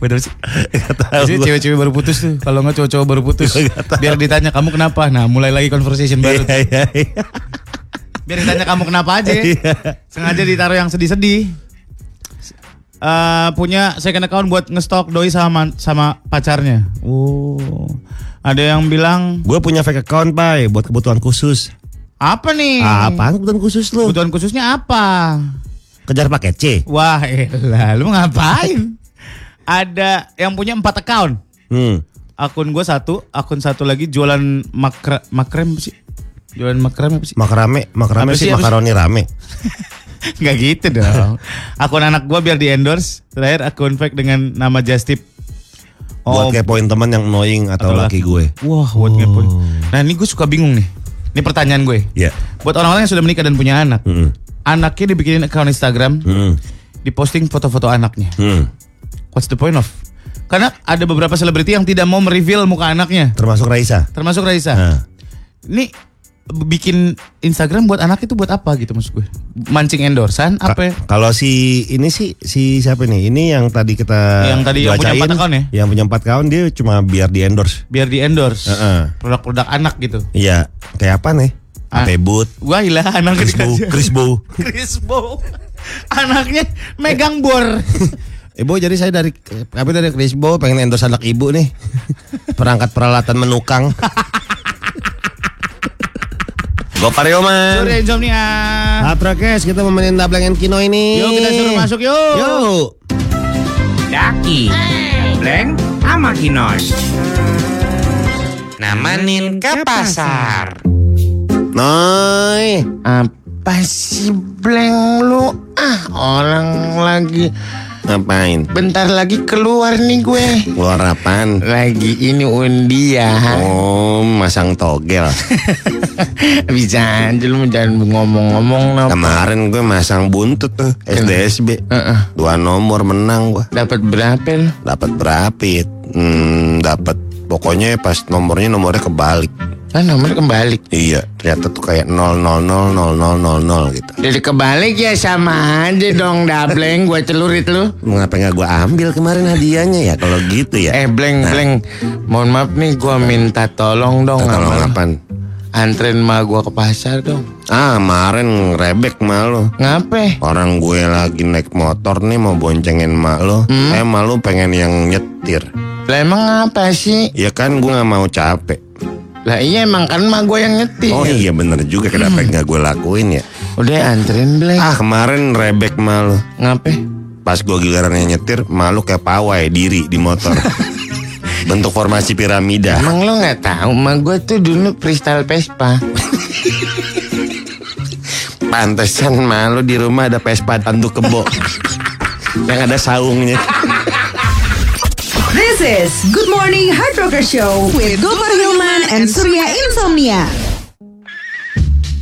Speaker 2: Buat apa sih?
Speaker 1: Nggak tahu
Speaker 2: Biasanya
Speaker 1: gua.
Speaker 2: cewek-cewek baru putus tuh. Kalau nggak cowok-cowok baru putus.
Speaker 1: Nggak tahu.
Speaker 2: Biar ditanya kamu kenapa. Nah mulai lagi conversation baru.
Speaker 1: Iya, iya, iya.
Speaker 2: Biar ditanya kamu kenapa aja. Sengaja ditaruh yang sedih-sedih. Eh, punya second account buat ngestok doi sama sama pacarnya. Oh. Ada yang bilang
Speaker 1: Gue punya fake account pai buat kebutuhan khusus. Ah,
Speaker 2: apa nih?
Speaker 1: Apaan kebutuhan khusus lu?
Speaker 2: Kebutuhan khususnya apa?
Speaker 1: Kejar pakai C.
Speaker 2: Wah, elah, lu ngapain? Ada yang punya empat account.
Speaker 1: Hmm.
Speaker 2: Akun gue satu, akun satu lagi jualan makre, makrem apa sih? Jualan makrem apa sih?
Speaker 1: Makarame,
Speaker 2: Apa
Speaker 1: makarame sih,
Speaker 2: sih, apa
Speaker 1: makaroni rame.
Speaker 2: Nggak gitu dong. akun anak gue biar di endorse. Terakhir akun fake dengan nama Justip.
Speaker 1: Buat kepoin teman yang annoying atau,
Speaker 2: Oh. Atau laki.
Speaker 1: laki gue.
Speaker 2: Wah, buat ngepoin. Nah ini gue suka bingung nih. Ini pertanyaan gue.
Speaker 1: Iya.
Speaker 2: Buat orang-orang yang sudah menikah dan punya anak,
Speaker 1: Mm-mm.
Speaker 2: anaknya dibikinin account Instagram,
Speaker 1: Hmm.
Speaker 2: diposting foto-foto anaknya.
Speaker 1: Hmm.
Speaker 2: What's the point of? Karena ada beberapa selebriti yang tidak mau mereveal muka anaknya,
Speaker 1: Termasuk Raisa.
Speaker 2: termasuk Raisa.
Speaker 1: Nah.
Speaker 2: Ini bikin Instagram buat anak itu buat apa gitu maksud gue? Mancing endorsan
Speaker 1: Ka-
Speaker 2: apa? ya?
Speaker 1: Kalau si ini sih si siapa nih? Ini yang tadi kita
Speaker 2: Yang tadi yang punya
Speaker 1: bacain,
Speaker 2: empat account ya?
Speaker 1: Yang punya empat account dia cuma biar di endorse.
Speaker 2: Biar di endorse
Speaker 1: Heeh.
Speaker 2: produk-produk anak gitu.
Speaker 1: Iya, kayak apa nih?
Speaker 2: Ah.
Speaker 1: Ape Boot,
Speaker 2: Wah ilah anak
Speaker 1: Chris Bow,
Speaker 2: dikasih-
Speaker 1: Chris Bow.
Speaker 2: Chris Bow. Anaknya megang bor.
Speaker 1: Ibu Eh, jadi saya dari kami dari Chris Bow pengen endorse anak ibu nih. Perangkat peralatan menukang. Gopario man.
Speaker 2: Sore Jom nih ah.
Speaker 1: Hatrokes kita memenin Dableng and Kino ini.
Speaker 2: Yuk kita suruh masuk yuk.
Speaker 1: Yuk.
Speaker 4: Daki, Bleng, sama Kinoy. Namanin ke pasar.
Speaker 1: Noi.
Speaker 4: Apa sih Bleng lu? Ah, orang lagi
Speaker 1: Ngapain?
Speaker 4: bentar lagi keluar nih gue.
Speaker 1: Keluar apaan?
Speaker 4: Lagi ini undian.
Speaker 1: Oh, masang togel.
Speaker 4: Bisa aja lu jangan ngomong-ngomong no.
Speaker 1: Kemarin gue masang buntut tuh SDSB.
Speaker 4: Heeh.
Speaker 1: Dua nomor menang gue.
Speaker 4: Dapat berapa lu?
Speaker 1: Dapat berapit? Hmm, dapat. Pokoknya pas nomornya nomornya kebalik.
Speaker 4: Ah, nomor kebalik.
Speaker 1: Iya, ternyata tuh kayak 0000000 gitu.
Speaker 4: Jadi kebalik ya sama aja dong dableng gue celurit lu.
Speaker 1: Mengapa nggak gue ambil kemarin hadiahnya ya? Kalau gitu ya.
Speaker 4: Eh bleng bleng, mohon maaf nih gue minta tolong dong.
Speaker 1: Tolong
Speaker 4: sama lu.
Speaker 1: apaan?
Speaker 4: Antren ma gue ke pasar dong.
Speaker 1: Ah, kemarin ngerebek malu.
Speaker 4: Ngapain?
Speaker 1: Orang gue lagi naik motor nih mau boncengin mak lo Eh mak lo pengen yang nyetir
Speaker 4: Lah emang apa sih?
Speaker 1: Ya kan gue gak mau capek
Speaker 4: Lah iya emang kan ma gue yang nyetir.
Speaker 1: Oh iya bener juga kenapa nggak gue lakuin ya
Speaker 4: Udah antren bleng.
Speaker 1: Ah kemarin rebek mak lo
Speaker 4: Ngapain?
Speaker 1: Pas gue gilirannya nyetir Mak lo kayak pawai diri di motor Bentuk formasi piramida
Speaker 4: Emang lo nggak tahu ma gue tuh dulu freestyle Vespa.
Speaker 1: Pantesan mak lo di rumah ada Vespa tanduk kebo Yang ada saungnya
Speaker 5: This is Good Morning Hard Rocker Show with Gopar Hilman and Surya Insomnia.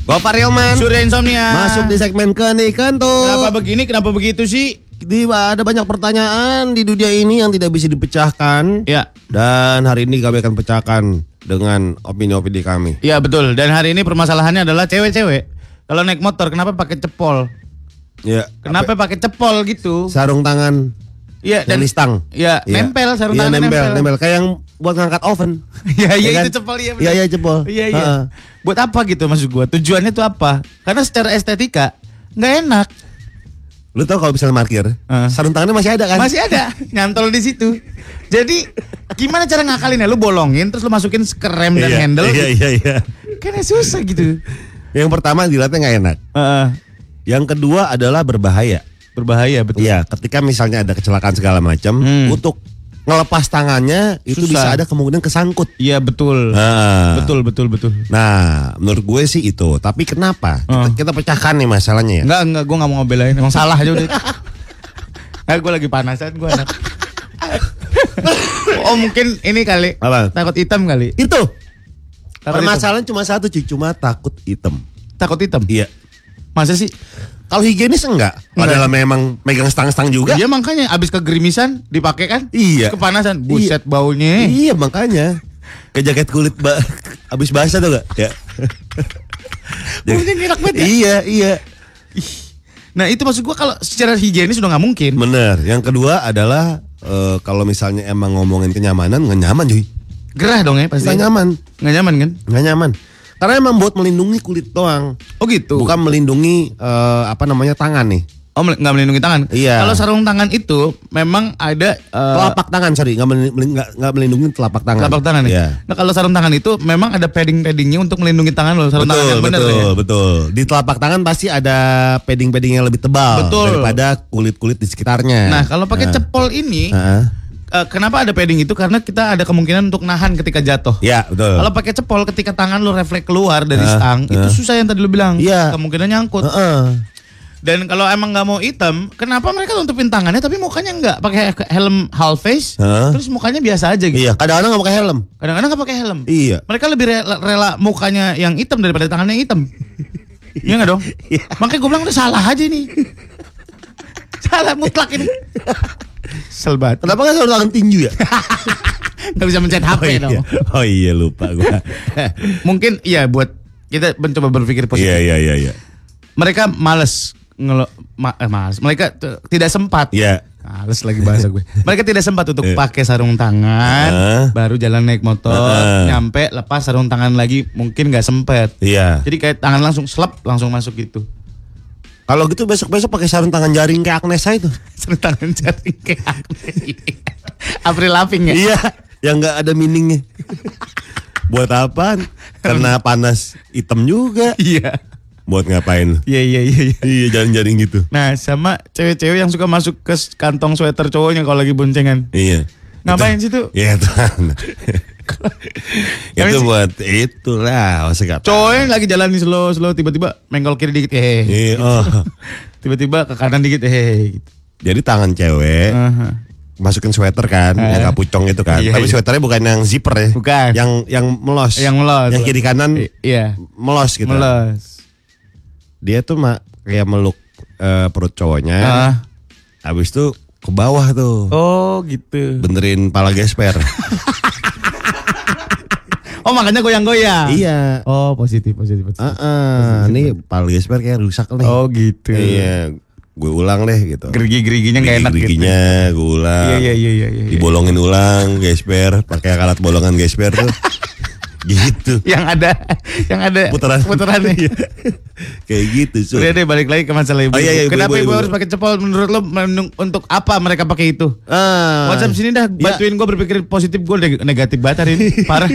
Speaker 1: Gopar Yoman
Speaker 2: Surya Insomnia.
Speaker 1: Masuk di segmen kenikan
Speaker 2: Kenapa
Speaker 1: tuh
Speaker 2: begini? Kenapa begitu sih?
Speaker 1: di, ada banyak pertanyaan di dunia ini yang tidak bisa dipecahkan.
Speaker 2: Ya.
Speaker 1: Dan hari ini kami akan pecahkan dengan opini-opini kami.
Speaker 2: Iya betul. Dan hari ini permasalahannya adalah cewek-cewek kalau naik motor kenapa pakai cepol? Iya.
Speaker 1: Ya.
Speaker 2: Kenapa pakai cepol gitu?
Speaker 1: Sarung tangan.
Speaker 2: Iya
Speaker 1: yang di stang.
Speaker 2: Iya, nempel sarung
Speaker 1: Iya,
Speaker 2: tangannya
Speaker 1: nempel,
Speaker 2: nempel.
Speaker 1: nempel. Kayak yang buat ngangkat oven.
Speaker 2: Iya iya
Speaker 1: Ya kan?
Speaker 2: itu cepol iya
Speaker 1: Iya, iya, cepol.
Speaker 2: Iya iya.
Speaker 1: Ha-ha.
Speaker 2: Buat apa gitu maksud gua? Tujuannya tuh apa? Karena secara estetika nggak enak.
Speaker 1: Lu tau kalau misalnya parkir,
Speaker 2: Ah.
Speaker 1: sarung tangannya masih ada kan?
Speaker 2: Masih ada nyantol di situ. Jadi gimana cara ngakalinnya? Lu bolongin terus lu masukin skrem dan
Speaker 1: Iya,
Speaker 2: handle.
Speaker 1: Iya, iya, iya.
Speaker 2: Kayaknya susah gitu.
Speaker 1: Yang pertama dilihatnya nggak enak.
Speaker 2: Heeh.
Speaker 1: Yang kedua adalah berbahaya.
Speaker 2: berbahaya betul.
Speaker 1: Iya, ketika misalnya ada kecelakaan segala macam,
Speaker 2: Iya. Hmm.
Speaker 1: kutuk. ngelepas tangannya itu
Speaker 2: Susah.
Speaker 1: bisa ada kemungkinan kesangkut.
Speaker 2: Iya betul.
Speaker 1: Nah,
Speaker 2: Betul betul betul.
Speaker 1: Nah, menurut gue sih itu. Tapi kenapa? Kita, kita pecahkan nih masalahnya ya.
Speaker 2: Enggak enggak gue nggak mau ngebelain emang salah aja udah. Nah, gue lagi panasan gue anak. oh mungkin ini kali
Speaker 1: Apa?
Speaker 2: takut hitam kali
Speaker 1: Itu.
Speaker 2: Takut
Speaker 1: Permasalahan cuma satu, cuy. cuma takut hitam.
Speaker 2: takut hitam
Speaker 1: Iya.
Speaker 2: masa sih
Speaker 1: Kalau higienis enggak? Padahal memang megang stang-stang juga.
Speaker 2: dia Iya, makanya abis kegerimisan dipakai kan
Speaker 1: Iya.
Speaker 2: Terus kepanasan buset baunya
Speaker 1: Iya, makanya. Ke jaket kulit ba habis basah tuh gak? Ya.
Speaker 2: Mungkin enak banget ya?
Speaker 1: Iya, iya.
Speaker 2: nah itu maksud gue kalau secara higienis udah nggak mungkin
Speaker 1: Bener. Yang kedua adalah eh, kalau misalnya emang ngomongin kenyamanan, nggak nyaman cuy.
Speaker 2: gerah dong ya pasti
Speaker 1: Nggak nyaman,
Speaker 2: nggak nyaman kan
Speaker 1: nggak nyaman. Karena emang buat melindungi kulit doang,
Speaker 2: oh gitu
Speaker 1: bukan melindungi eh, apa namanya tangan nih.
Speaker 2: oh mel- nggak melindungi tangan
Speaker 1: Iya.
Speaker 2: kalau sarung tangan itu memang ada eh,
Speaker 1: Telapak tangan, sorry, nggak meli- meli- nggak- nggak melindungi telapak tangan.
Speaker 2: telapak tangan ya.
Speaker 1: Iya.
Speaker 2: Nah, kalau sarung tangan itu memang ada padding-paddingnya untuk melindungi tangan lo, sarung tangan
Speaker 1: Betul,
Speaker 2: yang benar
Speaker 1: betul,
Speaker 2: ya.
Speaker 1: betul. Di telapak tangan pasti ada padding-padding yang lebih tebal
Speaker 2: Betul.
Speaker 1: daripada kulit-kulit di sekitarnya.
Speaker 2: Nah, kalau pakai
Speaker 1: Iya.
Speaker 2: cepol ini
Speaker 1: Heeh.
Speaker 2: eh, kenapa ada padding itu? Karena kita ada kemungkinan untuk nahan ketika jatuh.
Speaker 1: Ya, betul.
Speaker 2: Kalau pakai cepol ketika tangan lu refleks keluar dari
Speaker 1: Ah,
Speaker 2: stang, itu
Speaker 1: ah.
Speaker 2: susah yang tadi lu bilang.
Speaker 1: Iya.
Speaker 2: Kemungkinan nyangkut.
Speaker 1: Heeh.
Speaker 2: Dan kalau emang nggak mau hitam, kenapa mereka tutupin tangannya tapi mukanya nggak pakai he- helm half face,
Speaker 1: Ah.
Speaker 2: terus mukanya biasa aja gitu.
Speaker 1: Iya, kadang-kadang nggak pakai helm.
Speaker 2: Kadang-kadang nggak pakai helm.
Speaker 1: Iya.
Speaker 2: Mereka lebih rela, rela mukanya yang hitam daripada tangannya yang hitam. Iya nggak dong? Makanya gue bilang udah salah aja ini. salah mutlak ini. Selbat.
Speaker 1: Kenapa nggak sarung tangan tinju ya?
Speaker 2: Gak bisa mencet HP dong.
Speaker 1: Oh iya lupa gua.
Speaker 2: Mungkin ya buat kita mencoba berpikir positif.
Speaker 1: Iya iya iya iya.
Speaker 2: Mereka males ngelo ma- eh, males. Mereka t- tidak sempat.
Speaker 1: Iya.
Speaker 2: Males lagi bahasa gue. Mereka tidak sempat untuk
Speaker 1: Eh.
Speaker 2: pakai sarung tangan,
Speaker 1: Heeh.
Speaker 2: baru jalan naik motor,
Speaker 1: Heeh.
Speaker 2: nyampe lepas sarung tangan lagi mungkin nggak sempet.
Speaker 1: Iya.
Speaker 2: Jadi kayak tangan langsung slap langsung masuk gitu.
Speaker 1: Kalau gitu besok-besok pakai sarung tangan jaring kayak Agnes aja tuh.
Speaker 2: Sarung tangan jaring kayak April Lavigne ya.
Speaker 1: Iya, yang nggak ada meaningnya. Buat apaan? Karena panas hitam juga.
Speaker 2: Iya.
Speaker 1: Buat ngapain?
Speaker 2: Iya iya iya. iya.
Speaker 1: Iya, jaring-jaring gitu.
Speaker 2: Nah, sama cewek-cewek yang suka masuk ke s- kantong sweater cowoknya kalau lagi boncengan.
Speaker 1: Iya.
Speaker 2: Ngapain sih
Speaker 1: Itu-
Speaker 2: tuh?
Speaker 1: Iya, Tuhan.
Speaker 2: Tapi
Speaker 1: itu
Speaker 2: sih-
Speaker 1: buat itulah maksud kata.
Speaker 2: Cowoknya lagi jalan nih slow slow tiba-tiba menggol kiri dikit eh
Speaker 1: Iya, oh.
Speaker 2: tiba-tiba ke kanan dikit eh gitu.
Speaker 1: Jadi tangan cewek
Speaker 2: Aha.
Speaker 1: masukin sweater kan, yang kapucong itu kan.
Speaker 2: Hmm. Iya,
Speaker 1: Tapi
Speaker 2: iya.
Speaker 1: sweaternya bukan yang zipper ya.
Speaker 2: Bukan.
Speaker 1: Yang yang melos.
Speaker 2: Yang melos.
Speaker 1: Yang kiri kanan
Speaker 2: I- iya.
Speaker 1: melos Kan gitu.
Speaker 2: Meles.
Speaker 1: Dia tuh mak kayak meluk eh, perut cowoknya.
Speaker 2: Ah.
Speaker 1: Habis itu ke bawah tuh.
Speaker 2: Oh gitu.
Speaker 1: Benerin pala gesper.
Speaker 2: Oh makanya goyang-goyang.
Speaker 1: iya.
Speaker 2: Oh positif positif. positif.
Speaker 1: Ah, ah. ini pala gesper kayak rusak nih.
Speaker 2: Oh gitu.
Speaker 1: Iya, gue ulang deh gitu.
Speaker 2: Gerigi-geriginya nggak enak gitu.
Speaker 1: Geriginya gue ulang.
Speaker 2: Iya iya iya iya. iya.
Speaker 1: Dibolongin ulang, gesper, pakai alat bolongan gesper tuh. gitu.
Speaker 2: Yang ada yang ada
Speaker 1: Putaran.
Speaker 2: putarannya.
Speaker 1: Iya. Kayak gitu, Sur.
Speaker 2: Udah deh balik lagi ke masalah ibu.
Speaker 1: Oh, iya, iya, ibu,
Speaker 2: Kenapa
Speaker 1: ibu,
Speaker 2: ibu,
Speaker 1: ibu.
Speaker 2: harus pakai cepol menurut lo menung- untuk apa mereka pakai itu?
Speaker 1: Ah.
Speaker 2: WhatsApp sini dah
Speaker 1: Iya.
Speaker 2: bantuin gue berpikir positif gue neg- negatif banget hari ini parah.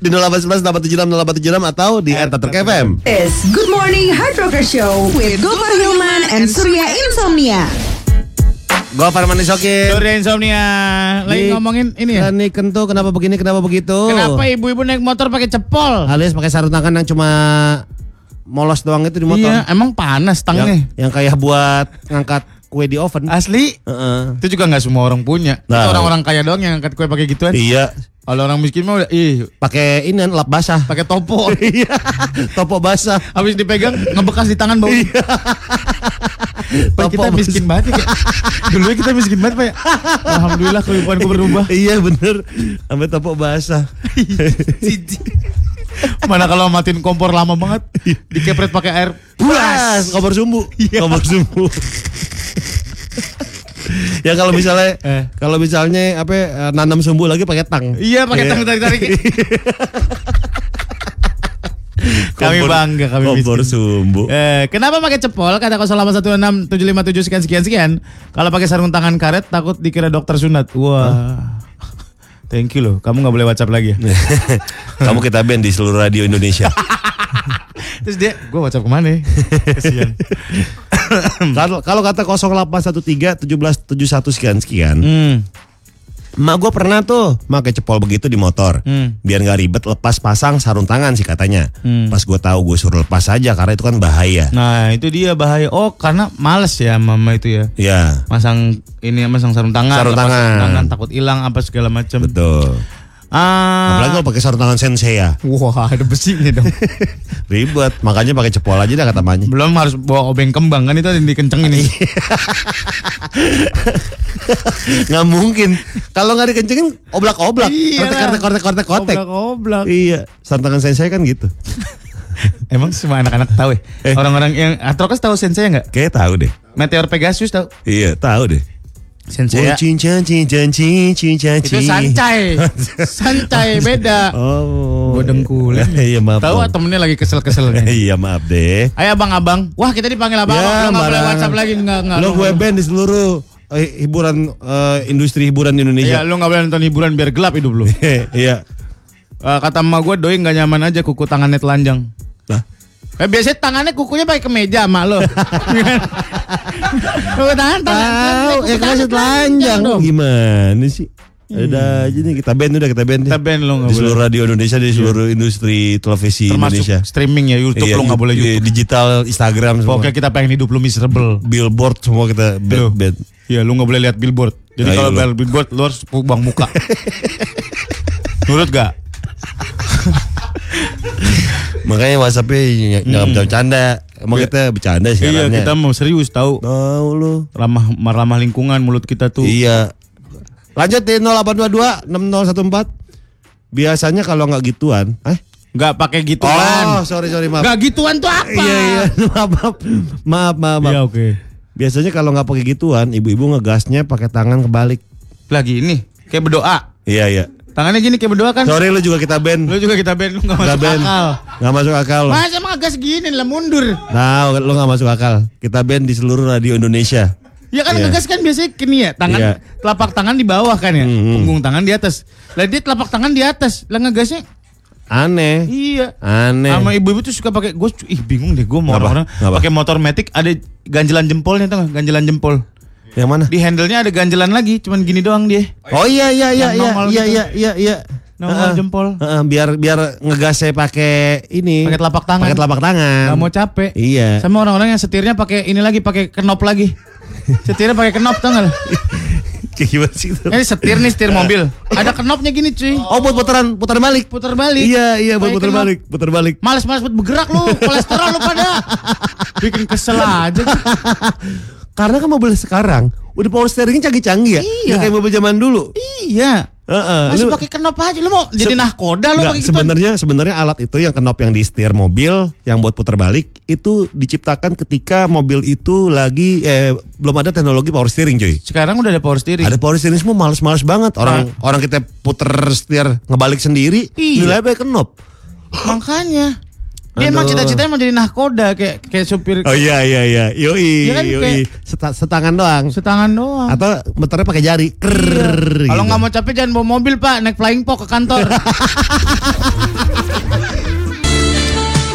Speaker 1: di 0811 876 0876 atau di
Speaker 2: Eh,
Speaker 1: Entertainment FM.
Speaker 5: It's Good Morning Hard Rocker Show with Gopar Hilman and Surya Insomnia.
Speaker 1: Gue Farman Isokin.
Speaker 2: Surya insomnia lagi
Speaker 1: Di- Nah,
Speaker 2: ngomongin ini ya.
Speaker 1: Ini kentu kenapa begini kenapa begitu?
Speaker 2: Kenapa ibu-ibu naik motor pakai cepol?
Speaker 1: Alias pakai sarung tangan yang cuma molos doang itu di motor.
Speaker 2: Iya, emang panas
Speaker 1: Yang,
Speaker 2: tangnya.
Speaker 1: yang kayak buat ngangkat kue di oven.
Speaker 2: Asli?
Speaker 1: Heeh.
Speaker 2: Itu juga nggak semua orang punya. Itu
Speaker 1: Nah.
Speaker 2: orang-orang kaya doang yang angkat kue pakai gituan.
Speaker 1: Iya,
Speaker 2: Kalau orang miskin mah udah ih,
Speaker 1: pakai ini lap basah.
Speaker 2: pakai topo.
Speaker 1: Iya, topok basah.
Speaker 2: Habis dipegang ngebekas di tangan bau. Pak, kita
Speaker 1: Topok
Speaker 2: miskin banget ya. Kak. Dulu kita miskin banget, Pak. ya. Alhamdulillah kehidupanku berubah.
Speaker 1: Iya bener Sampai topok basah
Speaker 2: Iya, Mana kalau matiin kompor lama banget, dikepret pakai air.
Speaker 1: Buas Kompor sumbu
Speaker 2: Iya.
Speaker 1: Kompor sumbu Ya kalau misalnya
Speaker 2: Eh.
Speaker 1: Kalau misalnya apa eh, Nanam sumbu lagi pakai tang
Speaker 2: Iya, pakai tang tarik-tarik. Kami
Speaker 1: Kompor-
Speaker 2: bangga, kami
Speaker 1: Kompor
Speaker 2: miskin.
Speaker 1: sumbu
Speaker 2: Eh, kenapa pakai cepol? Kata 08167577 sekian sekian sekian. Kalau pakai sarung tangan karet takut dikira dokter sunat. Wah. Thank you loh. Kamu nggak boleh WhatsApp lagi ya.
Speaker 1: Iya. Kamu kita band di seluruh radio Indonesia
Speaker 2: Terus dia, gue WhatsApp kemana? ya?" Kesian.
Speaker 1: Kalau kalau kata 0813 1771 sekian sekian.
Speaker 2: Hmm.
Speaker 1: Mak gue pernah tuh pakai cepol begitu di motor. Biar nggak ribet lepas pasang sarung tangan sih katanya. Pas gue tahu gue suruh lepas aja karena itu kan bahaya.
Speaker 2: Nah itu dia bahaya. Oh karena males ya mama itu ya.
Speaker 1: Ya,
Speaker 2: Masang ini masang sarung tangan.
Speaker 1: Sarung
Speaker 2: lepas
Speaker 1: tangan.
Speaker 2: takut hilang apa segala macam.
Speaker 1: betul.
Speaker 2: Ah.
Speaker 1: Apalagi kalau pakai sarung tangan sensei ya.
Speaker 2: Wah ada besinya dong.
Speaker 1: Ribet. Makanya pakai cepol aja dah kata mamanya.
Speaker 2: Belum harus bawa obeng kembang kan itu ada yang dikencengin ini.
Speaker 1: nggak mungkin. Kalau nggak dikencengin oblak-oblak.
Speaker 2: Iya lah.
Speaker 1: Kortek kortek kortek kortek.
Speaker 2: Oblak-oblak.
Speaker 1: Iya, sarung tangan sensei kan gitu.
Speaker 2: Emang semua anak-anak tahu ya?
Speaker 1: Eh.
Speaker 2: Orang-orang yang Atrokas tahu sensei nggak?
Speaker 1: Kayaknya tahu deh.
Speaker 2: Meteor Pegasus tahu?
Speaker 1: Iya, tahu deh.
Speaker 2: Sensei.
Speaker 1: Oh, cincin cincin cincin cincin.
Speaker 2: Itu sancai. sancai beda.
Speaker 1: Oh.
Speaker 2: Gua dengkulin.
Speaker 1: Iya, maaf.
Speaker 2: Tahu
Speaker 1: Bang.
Speaker 2: temennya lagi kesel-kesel nih.
Speaker 1: Iya, maaf deh.
Speaker 2: Ayo abang-abang. Wah kita dipanggil abang.
Speaker 1: Ya,
Speaker 2: abang nggak boleh
Speaker 1: barangan.
Speaker 2: WhatsApp lagi nggak nggak.
Speaker 1: Lo
Speaker 2: lu-
Speaker 1: gue band di seluruh eh, hiburan eh, industri hiburan di
Speaker 2: Iya,
Speaker 1: Indonesia.
Speaker 2: lu nggak boleh nonton hiburan biar gelap hidup lu.
Speaker 1: Iya.
Speaker 2: Eh, kata emak gue doi nggak nyaman aja kuku tangannya telanjang.
Speaker 1: Nah,
Speaker 2: Eh, biasanya tangannya kukunya pakai kemeja emak lo. kuku tangan tangan.
Speaker 1: tahu
Speaker 2: kuku
Speaker 1: ya
Speaker 2: tangan
Speaker 1: kasih telanjang
Speaker 2: dong. Hmm.
Speaker 1: gimana sih? Ada aja nih kita band udah kita band. nih.
Speaker 2: Kita band lo nggak
Speaker 1: di
Speaker 2: boleh. Iya.
Speaker 1: seluruh radio Indonesia di seluruh industri televisi
Speaker 2: Termasuk
Speaker 1: Indonesia.
Speaker 2: streaming ya YouTube
Speaker 1: Iya,
Speaker 2: lo nggak boleh
Speaker 1: iya,
Speaker 2: YouTube.
Speaker 1: digital, Instagram semua.
Speaker 2: Pokoknya kita pengen hidup lu miserable.
Speaker 1: Billboard semua kita
Speaker 2: Loh.
Speaker 1: band. band.
Speaker 2: Iya, lu nggak boleh lihat billboard. Jadi
Speaker 1: Ayo
Speaker 2: kalau
Speaker 1: lu.
Speaker 2: lihat billboard, Nah, iya, lu harus bang muka. Nurut gak?
Speaker 1: Makanya WhatsAppnya ny- jangan bercanda. Emang kita bercanda sih
Speaker 2: Hmm. Iya, kita mau serius tahu.
Speaker 1: tahu lu.
Speaker 2: Ramah ramah lingkungan mulut kita tuh.
Speaker 1: Iya. Lanjut di 0822 6014. Biasanya kalau nggak gituan, eh?
Speaker 2: Nggak pakai
Speaker 1: Oh,
Speaker 2: gituan.
Speaker 1: sorry sorry maaf.
Speaker 2: Nggak gituan tuh apa?
Speaker 1: Iya iya maaf maaf maaf maaf. maaf.
Speaker 2: Iya, oke.
Speaker 1: Biasanya kalau nggak pakai gituan, ibu-ibu ngegasnya pakai tangan kebalik.
Speaker 2: Lagi ini kayak berdoa.
Speaker 1: Iya iya.
Speaker 2: Tangannya gini kayak berdoa kan?
Speaker 1: Sorry lu juga
Speaker 2: Lu
Speaker 1: kita band.
Speaker 2: juga kita band lu nggak
Speaker 1: Kita
Speaker 2: masuk
Speaker 1: band.
Speaker 2: akal.
Speaker 1: Nggak masuk akal. lu.
Speaker 2: Mas Ah, emang agak segini lah mundur.
Speaker 1: Nah, lu nggak masuk akal. Kita band di seluruh radio Indonesia.
Speaker 2: Ya kan
Speaker 1: Iya.
Speaker 2: ngegas kan biasanya gini ya, tangan
Speaker 1: Iya. Mhm.
Speaker 2: telapak tangan di bawah kan ya, punggung tangan di atas. Lah dia telapak tangan di atas, lah ngegasnya
Speaker 1: Aneh.
Speaker 2: iya.
Speaker 1: Aneh.
Speaker 2: Sama ibu-ibu tuh suka pakai gue ih bingung deh gue mau
Speaker 1: Kenapa?
Speaker 2: orang-orang
Speaker 1: Kenapa?
Speaker 2: pakai motor metik ada ganjelan jempolnya tuh ganjelan jempol.
Speaker 1: Yang mana?
Speaker 2: Di handle-nya ada ganjelan lagi, cuman gini doang dia.
Speaker 1: Oh iya iya iya
Speaker 2: Yang
Speaker 1: iya
Speaker 2: nongol
Speaker 1: iya
Speaker 2: gitu.
Speaker 1: iya iya iya.
Speaker 2: Nongol
Speaker 1: Heeh.
Speaker 2: jempol.
Speaker 1: Heeh, biar biar ngegas saya pakai ini.
Speaker 2: Pakai telapak tangan.
Speaker 1: Pakai telapak tangan.
Speaker 2: Gak mau capek.
Speaker 1: Iya.
Speaker 2: Sama orang-orang yang setirnya pakai ini lagi, pakai kenop lagi. setirnya pakai kenop tau gak?
Speaker 1: Iya. Kayak gimana sih itu?
Speaker 2: Ini setir nih
Speaker 1: Iya.
Speaker 2: setir mobil. Ada kenopnya gini cuy.
Speaker 1: Oh buat putaran putar balik.
Speaker 2: Putar balik.
Speaker 1: Iya iya buat
Speaker 2: Pakai
Speaker 1: putar
Speaker 2: kenop.
Speaker 1: balik, putar balik.
Speaker 2: Males-males buat bergerak lu, kolesterol lu pada. Bikin kesel aja.
Speaker 1: Karena kan mobil sekarang udah power steeringnya canggih-canggih ya.
Speaker 2: Iya.
Speaker 1: Nggak kayak mobil zaman dulu.
Speaker 2: iya.
Speaker 1: Heeh.
Speaker 2: Masih
Speaker 1: lu-
Speaker 2: pakai kenop aja lu mau jadi
Speaker 1: Se-
Speaker 2: nahkoda lu
Speaker 1: Nggak,
Speaker 2: pakai gitu.
Speaker 1: sebenarnya sebenarnya alat itu yang kenop yang di setir mobil yang buat putar balik itu diciptakan ketika mobil itu lagi eh belum ada teknologi power steering cuy.
Speaker 2: Sekarang udah ada power steering.
Speaker 1: Ada power steering semua males-males banget orang orang kita puter setir ngebalik sendiri
Speaker 2: Ah. Iya.
Speaker 1: nilai baik kenop.
Speaker 2: Makanya. Dia
Speaker 1: Aduh.
Speaker 2: emang cita-citanya mau jadi nahkoda kayak kayak supir
Speaker 1: Oh iya iya iya. Yoi
Speaker 2: Iya kan,
Speaker 1: yoi.
Speaker 2: kayak-
Speaker 1: Seta- setangan doang
Speaker 2: setangan doang.
Speaker 1: atau muternya pakai jari. Krrrr,
Speaker 2: Ah. Iya. Kalau
Speaker 1: gitu.
Speaker 2: nggak mau capek jangan bawa mobil pak, naik flying pok ke kantor.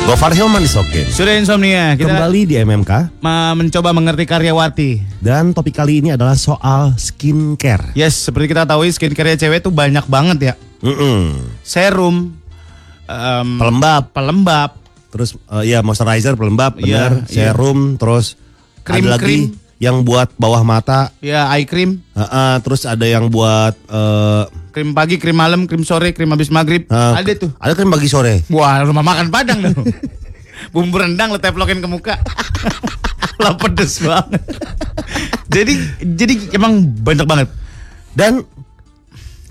Speaker 1: Gofar Hilman is okay.
Speaker 2: Sudah insomnia, kita
Speaker 1: Kembali di MMK
Speaker 2: ma- mencoba mengerti karyawati.
Speaker 1: dan topik kali ini adalah soal skincare.
Speaker 2: Yes, seperti kita tahu skincare cewek tuh banyak banget ya.
Speaker 1: Mm-mm.
Speaker 2: Serum, em,
Speaker 1: Pelembab
Speaker 2: pelembab,
Speaker 1: terus eh, ya moisturizer pelembab
Speaker 2: Iya,
Speaker 1: benar
Speaker 2: iya.
Speaker 1: serum terus
Speaker 2: Krim,
Speaker 1: ada lagi
Speaker 2: krim.
Speaker 1: yang buat bawah mata
Speaker 2: ya eye cream,
Speaker 1: eh, eh, terus ada yang buat eh,
Speaker 2: krim pagi, krim malam, krim sore, krim habis maghrib.
Speaker 1: eh,
Speaker 2: Ada tuh.
Speaker 1: ada krim pagi sore
Speaker 2: Wah, rumah makan Padang dong. Bumbu rendang lo teplokin ke muka. lah pedes banget. jadi jadi emang banyak banget.
Speaker 1: dan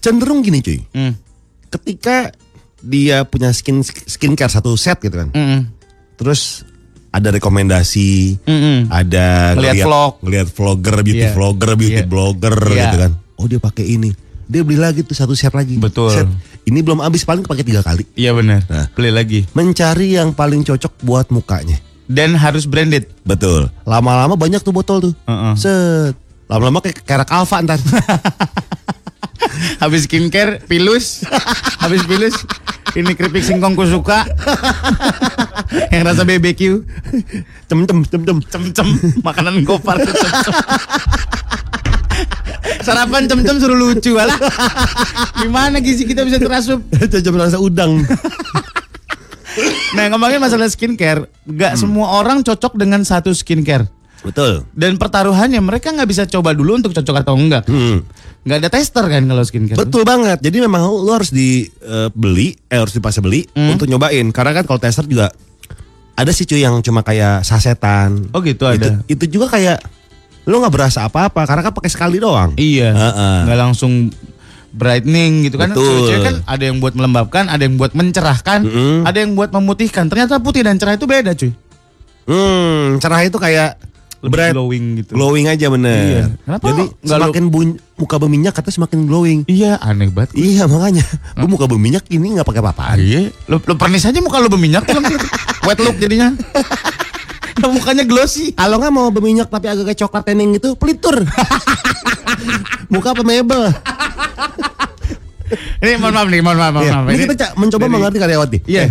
Speaker 1: cenderung gini cuy
Speaker 2: Hmm.
Speaker 1: ketika dia punya skin skincare satu set gitu kan
Speaker 2: Mm-mm.
Speaker 1: terus ada rekomendasi
Speaker 2: Mm-mm. Hmm. Ngeliat
Speaker 1: ada ngeliat-
Speaker 2: vlog.
Speaker 1: ngeliat vlogger beauty
Speaker 2: Iya.
Speaker 1: vlogger beauty
Speaker 2: Iya.
Speaker 1: blogger
Speaker 2: Iya.
Speaker 1: gitu kan oh dia pakai ini dia beli lagi tuh satu set lagi
Speaker 2: Betul.
Speaker 1: set. ini belum habis paling pakai tiga kali
Speaker 2: Iya benar.
Speaker 1: Nah.
Speaker 2: Beli lagi.
Speaker 1: mencari yang paling cocok buat mukanya.
Speaker 2: Dan harus branded.
Speaker 1: Betul. Lama-lama banyak tuh botol tuh.
Speaker 2: Heeh.
Speaker 1: Set. Lama-lama kayak kerak alfa ntar.
Speaker 2: Habis skincare, pilus. Habis pilus, Ini keripik singkong ku suka. Yang rasa BBQ.
Speaker 1: Tem tem tem tem.
Speaker 2: Cem-cem. Makanan gopar. cem-cem. Sarapan cem-cem suruh lucu alah. Gimana gizi kita bisa terasup?
Speaker 1: Itu cuma rasa udang.
Speaker 2: Nah ngomongin masalah skincare, nggak
Speaker 1: Hmm.
Speaker 2: semua orang cocok dengan satu skincare.
Speaker 1: Betul.
Speaker 2: Dan pertaruhannya mereka nggak bisa coba dulu untuk cocok atau enggak.
Speaker 1: Hmm.
Speaker 2: Nggak ada tester kan kalau skincare.
Speaker 1: Betul banget. Jadi memang lu harus dibeli, eh harus dipaksa beli
Speaker 2: Hmm.
Speaker 1: untuk nyobain. Karena kan kalau tester juga ada sih cuy yang cuma kayak sasetan.
Speaker 2: Oh, gitu ada.
Speaker 1: Itu, itu juga kayak lu nggak berasa apa-apa karena kan pakai sekali doang.
Speaker 2: Iya.
Speaker 1: Heeh.
Speaker 2: Nggak langsung brightening gitu kan.
Speaker 1: Betul.
Speaker 2: Cewek-cewek kan ada yang buat melembabkan, ada yang buat mencerahkan,
Speaker 1: Mm-mm.
Speaker 2: ada yang buat memutihkan. Ternyata putih dan cerah itu beda cuy.
Speaker 1: Hmm, cerah itu kayak
Speaker 2: Lebih
Speaker 1: bright,
Speaker 2: glowing gitu.
Speaker 1: glowing aja bener.
Speaker 2: Iya. Kenapa
Speaker 1: Jadi
Speaker 2: nggak lu-
Speaker 1: semakin bun- muka berminyak katanya semakin glowing.
Speaker 2: Iya aneh banget.
Speaker 1: Iya makanya, gue muka berminyak ini nggak pakai apa-apaan.
Speaker 2: Iya, lo, lo pernis aja muka lo berminyak film gitu. Wet look jadinya. Lo mukanya glossy.
Speaker 1: Kalau nggak mau berminyak tapi agak kayak coklat tening itu pelitur. muka pemebel.
Speaker 2: Ini mohon maaf nih, mohon maaf, mohon
Speaker 1: Iya,
Speaker 2: maaf.
Speaker 1: Ini kita ca- mencoba
Speaker 2: dari-
Speaker 1: mengerti karyawan nih.
Speaker 2: Nah, Iya.
Speaker 1: Eh,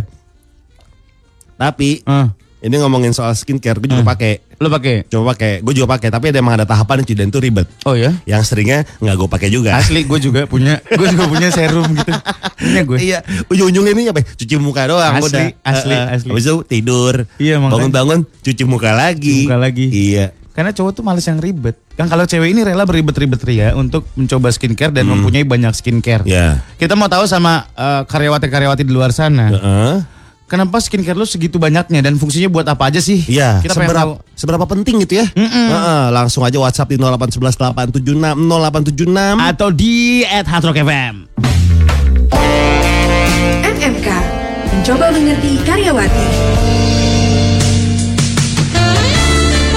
Speaker 1: Tapi
Speaker 2: Ah,
Speaker 1: ini ngomongin soal skincare, gue juga
Speaker 2: Hmm.
Speaker 1: pakai.
Speaker 2: lo pakai.
Speaker 1: Coba pakai, gue juga pakai. Tapi ada emang ada tahapan cuy, dan itu ribet.
Speaker 2: Oh ya.
Speaker 1: Yang seringnya nggak gue pakai juga.
Speaker 2: Asli gue juga punya, gue juga punya serum gitu. Punya gue.
Speaker 1: Iya, ujung-ujungnya ini apa? ya? Cuci muka doang
Speaker 2: Asli,
Speaker 1: udah.
Speaker 2: asli,
Speaker 1: Eh, eh.
Speaker 2: asli.
Speaker 1: Habis itu tidur.
Speaker 2: Iya, makanya.
Speaker 1: Bangun-bangun cuci muka
Speaker 2: Cuci
Speaker 1: lagi.
Speaker 2: muka lagi.
Speaker 1: Iya.
Speaker 2: Karena cowok tuh males yang ribet. Kan kalau cewek ini rela beribet-ribet ria untuk mencoba skincare dan mempunyai banyak skincare.
Speaker 1: Ya.
Speaker 2: Kita mau tahu sama eh, karyawati-karyawati di luar sana.
Speaker 1: Heeh.
Speaker 2: Kenapa skincare lu segitu banyaknya dan fungsinya buat apa aja sih?
Speaker 1: Iya,
Speaker 2: Kita pengen tahu.
Speaker 1: seberapa, seberapa penting gitu ya? Heeh, langsung aja WhatsApp di 0811876 0876.
Speaker 2: Atau di at Hard Rock FM.
Speaker 5: MMK Mencoba mengerti karyawati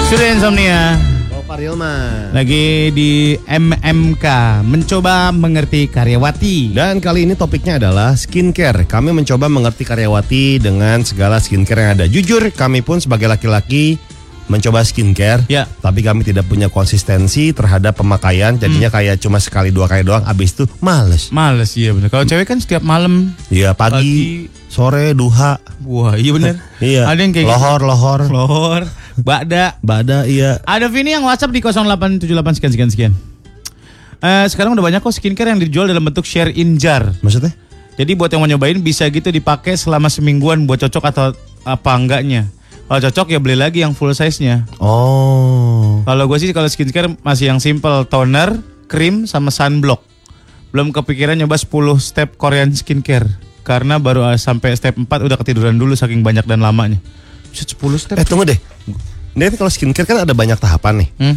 Speaker 2: Sudah insomnia.
Speaker 1: Bapak Rilman.
Speaker 2: Lagi di MMK mencoba mengerti karyawati.
Speaker 1: Dan kali ini topiknya adalah skincare. Kami mencoba mengerti karyawati dengan segala skincare yang ada. Jujur, kami pun sebagai laki-laki mencoba skincare,
Speaker 2: Ya.
Speaker 1: tapi kami tidak punya konsistensi terhadap pemakaian. Jadinya
Speaker 2: Hmm.
Speaker 1: kayak cuma sekali dua kali doang, abis itu males.
Speaker 2: Males iya bener. Kalau cewek kan setiap malam.
Speaker 1: Iya pagi, sore, duha,
Speaker 2: Wah iya bener.
Speaker 1: iya.
Speaker 2: Ada yang kayak gitu.
Speaker 1: lohor, lohor,
Speaker 2: Lor. Bada.
Speaker 1: bada, iya.
Speaker 2: Ada Vini yang WhatsApp di 0878 sekian sekian sekian. Eh, sekarang udah banyak kok skincare yang dijual dalam bentuk share in jar.
Speaker 1: Maksudnya?
Speaker 2: Jadi buat yang mau nyobain bisa gitu dipakai selama semingguan buat cocok atau apa enggaknya. Kalau cocok ya beli lagi yang full size-nya.
Speaker 1: Oh,
Speaker 2: Kalau gue sih kalau skincare masih yang simple toner, krim sama sunblock. Belum kepikiran nyoba 10 step Korean skincare karena baru ah, sampai step 4 udah ketiduran dulu saking banyak dan lamanya. Buset, 10 step.
Speaker 1: eh tunggu deh. Nanti kalau skincare kan ada banyak tahapan nih.
Speaker 2: Hmm.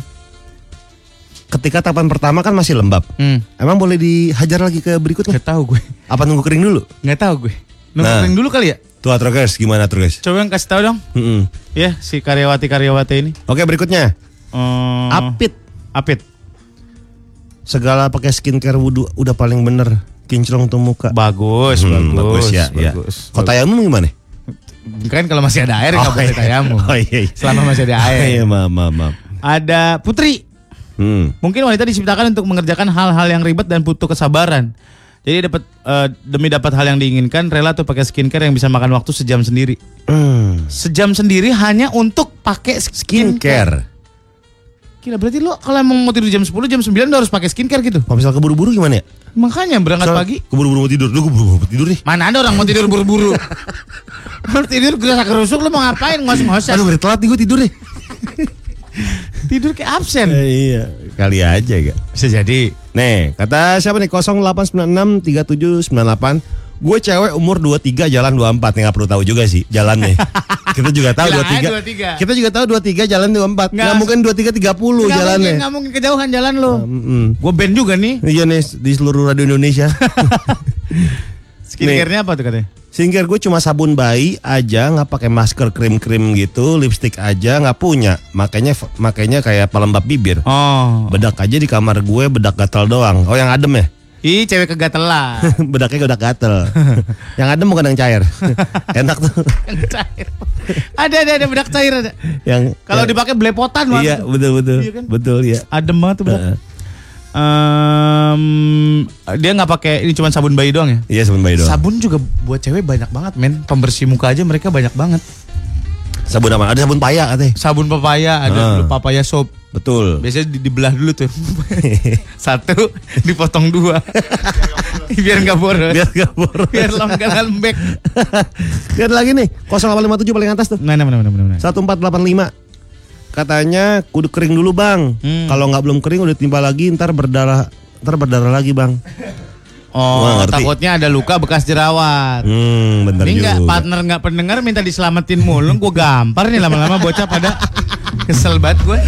Speaker 1: Ketika tahapan pertama kan masih lembab.
Speaker 2: Hmm.
Speaker 1: Emang boleh dihajar lagi ke berikutnya?
Speaker 2: Gak tahu gue.
Speaker 1: Apa nunggu kering dulu?
Speaker 2: Gak tahu gue. Nunggu
Speaker 1: Nah.
Speaker 2: kering dulu kali ya?
Speaker 1: Tuh Atrokers, gimana Atrokers?
Speaker 2: Coba yang kasih tahu dong.
Speaker 1: Mm-mm.
Speaker 2: Ya, si karyawati-karyawati ini.
Speaker 1: Oke berikutnya
Speaker 2: Hmm,
Speaker 1: Apit
Speaker 2: Apit.
Speaker 1: Segala pakai skincare wudhu Udah paling bener Kinclong tuh muka
Speaker 2: Bagus,
Speaker 1: Hmm,
Speaker 2: bagus,
Speaker 1: ya, ya.
Speaker 2: bagus.
Speaker 1: Kok tayamum gimana?
Speaker 2: Kan kalau masih ada air nggak
Speaker 1: Oh,
Speaker 2: boleh
Speaker 1: iya.
Speaker 2: tayamu.
Speaker 1: Oh, iya, iya.
Speaker 2: Selama masih ada air.
Speaker 1: Iya maaf maaf maaf
Speaker 2: Ada Putri.
Speaker 1: hmm.
Speaker 2: Mungkin wanita diciptakan untuk mengerjakan hal-hal yang ribet dan butuh kesabaran. Jadi dapat eh, demi dapat hal yang diinginkan rela tuh pakai skincare yang bisa makan waktu sejam sendiri.
Speaker 1: Hmm.
Speaker 2: Sejam sendiri hanya untuk pakai skincare.
Speaker 1: Skincare
Speaker 2: Gila berarti lo kalau emang mau tidur jam 10 jam 9 lo harus pakai skincare gitu.
Speaker 1: Kalau misalnya keburu-buru gimana ya?
Speaker 2: Makanya berangkat
Speaker 1: Misal
Speaker 2: pagi.
Speaker 1: Keburu-buru mau tidur Duh keburu mau tidur nih
Speaker 2: Mana ada orang mau tidur buru-buru. Lo tidur gerasa gerusuk lo mau ngapain ngos-ngosan.
Speaker 1: Aduh udah telat nih gue tidur nih
Speaker 2: Tidur kayak absen.
Speaker 1: Iya Kali aja gak
Speaker 2: Bisa jadi.
Speaker 1: Nih kata siapa nih 0896 3798 Gue cewek umur 23 jalan 24 nih gak perlu tahu juga sih jalannya Kita juga tahu
Speaker 2: Gila, 23.
Speaker 1: 23. Kita juga tahu 23 jalan 24 Nggak,
Speaker 2: Nggak.
Speaker 1: mungkin
Speaker 2: Nggak
Speaker 1: 23 30 jalannya
Speaker 2: mungkin, nggak mungkin kejauhan jalan lo.
Speaker 1: Mm-mm.
Speaker 2: Gue band juga nih.
Speaker 1: Iya nih di seluruh radio Indonesia
Speaker 2: Skincare-nya apa tuh katanya?
Speaker 1: Singkir gue cuma sabun bayi aja nggak pakai masker krim-krim gitu Lipstick aja nggak punya Makanya makanya kayak pelembab bibir
Speaker 2: Oh.
Speaker 1: Bedak aja di kamar gue bedak gatel doang Oh yang adem ya?
Speaker 2: Ih, cewek kegatelan.
Speaker 1: Bedaknya udah gatel. yang adem bukan yang cair. Enak tuh.
Speaker 2: Yang cair. ada ada ada bedak cair ada.
Speaker 1: yang
Speaker 2: Kalau
Speaker 1: yang-
Speaker 2: dipakai belepotan Wan.
Speaker 1: Iya, betul betul.
Speaker 2: Iya kan?
Speaker 1: Betul ya.
Speaker 2: Adem banget tuh bedak.
Speaker 1: Heeh.
Speaker 2: Eh, em, dia nggak pakai ini cuma sabun bayi doang ya?
Speaker 1: Iya sabun bayi doang.
Speaker 2: Sabun juga buat cewek banyak banget, men. Pembersih muka aja mereka banyak banget.
Speaker 1: sabun apa? Ada sabun paya katanya.
Speaker 2: Sabun pepaya, ada
Speaker 1: Ah.
Speaker 2: dulu papaya soap.
Speaker 1: Betul.
Speaker 2: Biasanya di- dibelah dulu tuh. Satu dipotong dua. Biar nggak boros.
Speaker 1: Biar gak boros.
Speaker 2: Biar lembek lembek.
Speaker 1: Lihat lagi nih 0857 paling atas tuh.
Speaker 2: Mana mana mana mana.
Speaker 1: 1485 katanya kudu kering dulu bang
Speaker 2: Hmm.
Speaker 1: kalau nggak belum kering udah timpa lagi ntar berdarah ntar berdarah lagi bang
Speaker 2: Oh,
Speaker 1: Wah, ngerti.
Speaker 2: takutnya ada luka bekas jerawat.
Speaker 1: hmm bener
Speaker 2: Ini
Speaker 1: juga
Speaker 2: nggak partner nggak pendengar minta diselamatin mulu, gue gampar nih lama-lama bocah pada kesel banget gue.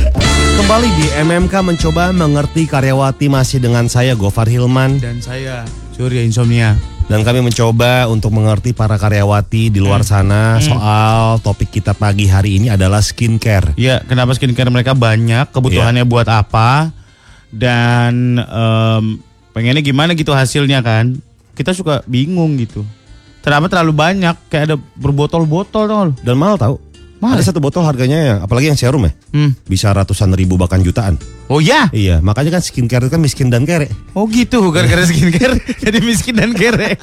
Speaker 1: kembali di MMK mencoba mengerti karyawati masih dengan saya Gofar Hilman
Speaker 2: Dan saya Surya Insomnia.
Speaker 1: dan kami mencoba untuk mengerti para karyawati di
Speaker 2: Hmm.
Speaker 1: luar sana soal topik kita pagi hari ini adalah skincare
Speaker 2: Iya, kenapa skincare mereka banyak, kebutuhannya buat apa, dan em, pengennya gimana gitu hasilnya kan? Kita suka bingung gitu. Kenapa terlalu banyak? Kayak ada berbotol-botol dong. lu.
Speaker 1: dan mahal tahu
Speaker 2: Mahal.
Speaker 1: ada satu botol harganya ya apalagi yang serum ya
Speaker 2: Hmm.
Speaker 1: bisa ratusan ribu bahkan jutaan
Speaker 2: Oh ya,
Speaker 1: iya makanya kan skincare itu kan miskin dan kere
Speaker 2: oh gitu gara-gara skincare jadi miskin dan kere.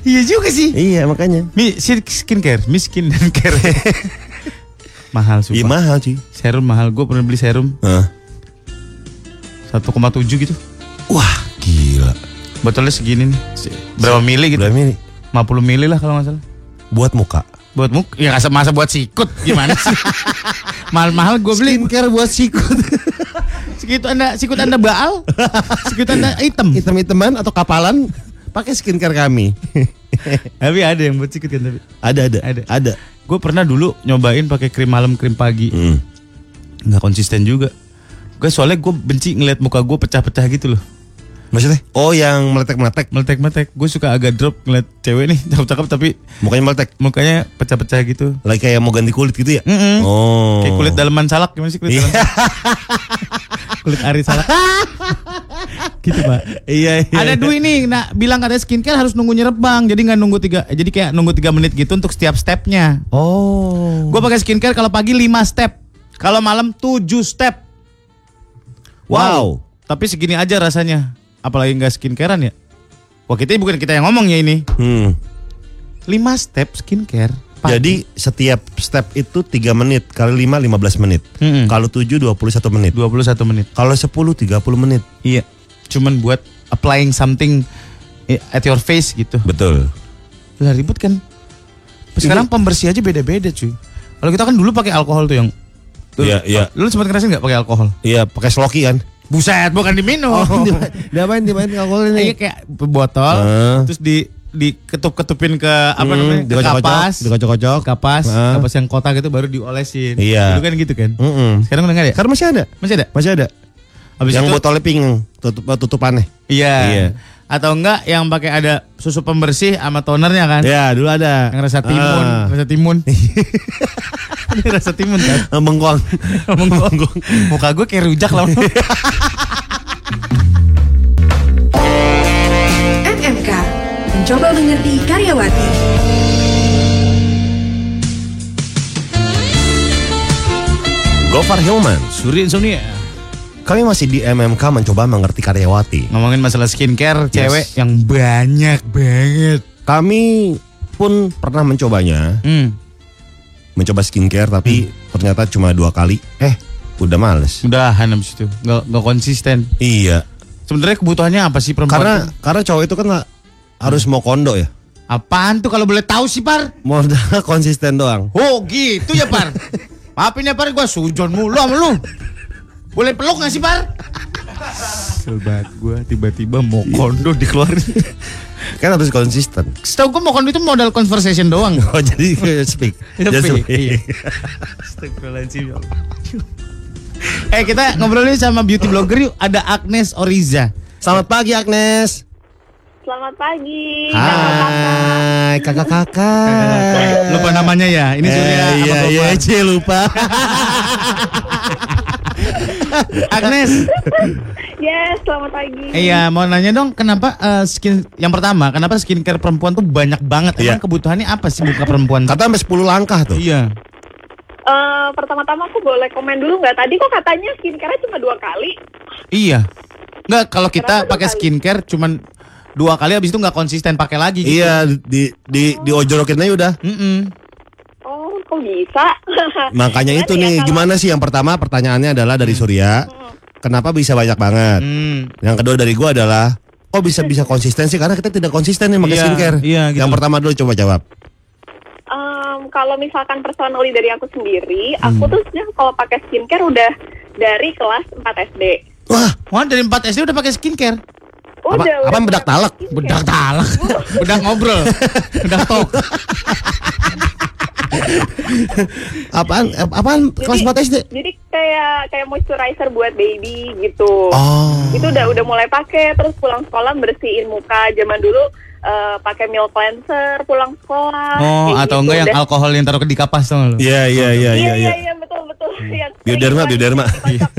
Speaker 2: Iya juga sih.
Speaker 1: iya makanya
Speaker 2: Mi, skin- skincare, miskin dan kere. mahal
Speaker 1: Iya
Speaker 2: sumpah.
Speaker 1: mahal sih.
Speaker 2: Serum mahal. Gue pernah beli serum 1,7 gitu.
Speaker 1: Wah gila.
Speaker 2: Botolnya segini nih. Berapa mili gitu?
Speaker 1: Berapa mili?
Speaker 2: 50 mili lah kalau nggak salah.
Speaker 1: Buat muka.
Speaker 2: Buat muk, ya nggak masa buat sikut gimana sih? Mahal-mahal gue beli.
Speaker 1: Skincare buat sikut.
Speaker 2: Sikut anda, sikut anda baal, sikut anda hitam.
Speaker 1: Hitam-hitaman atau kapalan pakai skincare kami.
Speaker 2: Tapi ada yang buat sikut kan tapi.
Speaker 1: ada ada
Speaker 2: Ada.
Speaker 1: ada.
Speaker 2: Gue pernah dulu nyobain pakai krim malam, krim pagi.
Speaker 1: Hmm.
Speaker 2: Nggak konsisten juga. Gue soalnya gue benci ngeliat muka gue pecah-pecah gitu loh.
Speaker 1: Maksudnya? Oh yang meletek-meletek.
Speaker 2: Meletek-meletek. Gue suka agak drop ngeliat cewek nih cakep-cakep tapi
Speaker 1: Mukanya meletek.
Speaker 2: mukanya pecah-pecah gitu.
Speaker 1: Lagi kayak mau ganti kulit gitu ya?
Speaker 2: Mm-mm.
Speaker 1: Oh.
Speaker 2: Hmm. Kayak kulit daleman salak gimana sih kulit
Speaker 1: Iya.
Speaker 2: daleman salak? kulit ari salak. gitu, Pak.
Speaker 1: Iya, iya.
Speaker 2: Ada Dwi nih, nah bilang katanya skincare harus nunggu nyerebang, jadi nggak nunggu tiga, jadi kayak nunggu tiga menit gitu untuk setiap stepnya.
Speaker 1: Oh.
Speaker 2: Gue pakai skincare kalau pagi 5 step, kalau malam 7 step.
Speaker 1: Wow.
Speaker 2: Tapi segini aja rasanya, apalagi nggak skincarean ya. Wah kita bukan kita yang ngomong ya ini.
Speaker 1: Hmm.
Speaker 2: 5 step skincare. pagi.
Speaker 1: Jadi setiap step itu 3 menit kali 5 15 menit.
Speaker 2: Mm-mm.
Speaker 1: Kalau 7 21 menit.
Speaker 2: 21 menit.
Speaker 1: Kalau 10 30 menit.
Speaker 2: Iya. Cuman buat applying something eh, at your face gitu.
Speaker 1: Betul.
Speaker 2: Lah ribut kan. Sekarang
Speaker 1: Iya.
Speaker 2: pembersih aja beda-beda cuy. Kalau kita kan dulu pakai alkohol tuh yang Lu-
Speaker 1: Iya, iya.
Speaker 2: Lu sempat ngerasain nggak pakai alkohol?
Speaker 1: Iya, Oh. pakai sloki kan?
Speaker 2: Buset, bukan diminum.
Speaker 1: diapain diapain alkohol
Speaker 2: Iya kayak botol
Speaker 1: Heeh.
Speaker 2: terus di diketup-ketupin ke apa
Speaker 1: Hmm,
Speaker 2: namanya? Ke
Speaker 1: dikocok-kocok,
Speaker 2: kapas,
Speaker 1: dikocok-kocok.
Speaker 2: kapas,
Speaker 1: Heeh.
Speaker 2: kapas yang kotak itu baru diolesin.
Speaker 1: Iya.
Speaker 2: Dulu kan gitu kan.
Speaker 1: Mm-mm.
Speaker 2: Sekarang udah nggak ada? ya?
Speaker 1: Sekarang masih ada.
Speaker 2: Masih ada?
Speaker 1: Masih ada.
Speaker 2: Habis
Speaker 1: yang
Speaker 2: itu-
Speaker 1: botolnya pink tutup tutupannya.
Speaker 2: Iya.
Speaker 1: Iya.
Speaker 2: Atau enggak yang pakai ada susu pembersih sama tonernya kan?
Speaker 1: Ya, dulu ada.
Speaker 2: Yang rasa timun, rasa timun. Ini rasa timun kan?
Speaker 1: Ah, Bengkong.
Speaker 2: Menggong. Muka gue kayak rujak lah.
Speaker 5: MMK Mencoba mengerti karyawati
Speaker 1: Gofar Hilman.
Speaker 2: Suri ya? insomnia.
Speaker 1: Kami masih di MMK mencoba mengerti karyawati.
Speaker 2: Ngomongin masalah skincare cewek yang banyak banget.
Speaker 1: Kami pun pernah mencobanya,
Speaker 2: Hmm,
Speaker 1: mencoba skincare tapi ternyata cuma dua kali. Eh, udah males.
Speaker 2: udahan habis itu. Nggak, nggak konsisten.
Speaker 1: Iya.
Speaker 2: Sebenarnya kebutuhannya apa sih perempuan?
Speaker 1: Karena
Speaker 2: tuh?
Speaker 1: karena cowok itu kan nggak- harus mau kondo ya.
Speaker 2: apaan tuh kalau boleh tahu sih, Par?
Speaker 1: Modal konsisten doang.
Speaker 2: Oh, gitu ya, Par. Maafin ya, Par, gua sujon mulu sama lu. Boleh peluk gak sih, Par? Sobat gua tiba-tiba mau kondo dikeluarin.
Speaker 1: Kan harus konsisten.
Speaker 2: Setahu gua mau kondo itu modal conversation doang.
Speaker 1: Oh, jadi speak. Just
Speaker 2: Tapi,
Speaker 1: speak.
Speaker 2: iya. Astagfirullahaladzim, ya Allah. Eh kita ngobrolin sama beauty blogger yuk Ada Agnes Oriza
Speaker 1: Selamat pagi Agnes.
Speaker 6: Selamat pagi.
Speaker 2: Iya,
Speaker 1: Hai, kakak-kakak.
Speaker 2: Lupa namanya ya Ini Surya
Speaker 1: Eh,
Speaker 2: apa
Speaker 1: iya,
Speaker 2: gua?
Speaker 1: iya, Cie, lupa.
Speaker 2: Agnes
Speaker 6: Yes, Ya, selamat pagi.
Speaker 2: Iya mau nanya dong Kenapa eh, skin Yang pertama Kenapa skincare perempuan tuh banyak banget Emang
Speaker 1: Iya.
Speaker 2: kebutuhannya apa sih Muka perempuan
Speaker 1: Kata sampai 10 langkah tuh.
Speaker 2: Iya
Speaker 6: Eh, pertama-tama aku boleh komen dulu nggak? Tadi kok katanya skincare cuma dua kali.
Speaker 2: Iya. Nggak kalau kita
Speaker 6: Kenapa
Speaker 2: pakai
Speaker 6: dua kali?
Speaker 2: skincare cuman dua kali habis itu nggak konsisten pakai lagi. gitu.
Speaker 1: Iya di di diojorokin aja udah.
Speaker 2: Mm-mm.
Speaker 6: Oh, kok bisa?
Speaker 1: Makanya itu
Speaker 6: Berarti ya
Speaker 1: nih
Speaker 6: kalau- Hmm.
Speaker 1: gimana sih yang pertama pertanyaannya adalah dari Surya. Kenapa bisa banyak banget?
Speaker 2: Hmm.
Speaker 1: Yang kedua dari gua adalah kok bisa bisa konsisten sih karena kita tidak konsisten nih pakai
Speaker 2: Iya,
Speaker 1: skincare.
Speaker 2: iya, gitu.
Speaker 1: Yang pertama dulu coba jawab.
Speaker 6: Em, kalau misalkan personally dari aku sendiri,
Speaker 2: Hmm.
Speaker 6: aku tuh sebenarnya kalau pakai skincare udah dari kelas 4 SD.
Speaker 1: Wah,
Speaker 2: Wah dari 4 SD udah pakai skincare.
Speaker 1: apa,
Speaker 6: Udah,
Speaker 1: apa
Speaker 6: udah
Speaker 1: bedak
Speaker 6: pakai
Speaker 1: talak?
Speaker 6: skincare.
Speaker 2: Bedak talak. Bedak ngobrol. Bedak talk.
Speaker 1: Apaan apaan kelas 4 SD?
Speaker 6: Jadi kayak kayak moisturizer buat baby gitu.
Speaker 1: Oh.
Speaker 6: Itu udah udah mulai pakai terus pulang sekolah bersihin muka. Zaman dulu eh, pakai milk cleanser pulang sekolah.
Speaker 2: Oh,
Speaker 6: kayak
Speaker 2: atau
Speaker 6: gitu.
Speaker 2: enggak yang
Speaker 6: Udah-
Speaker 2: alkohol yang taruh di kapas tuh lu.
Speaker 1: Iya iya iya
Speaker 6: Iya
Speaker 1: iya
Speaker 6: iya
Speaker 1: iya.
Speaker 6: iya betul betul. Yang
Speaker 1: Bioderma,
Speaker 6: sering
Speaker 1: bioderma.
Speaker 6: banget dikocok.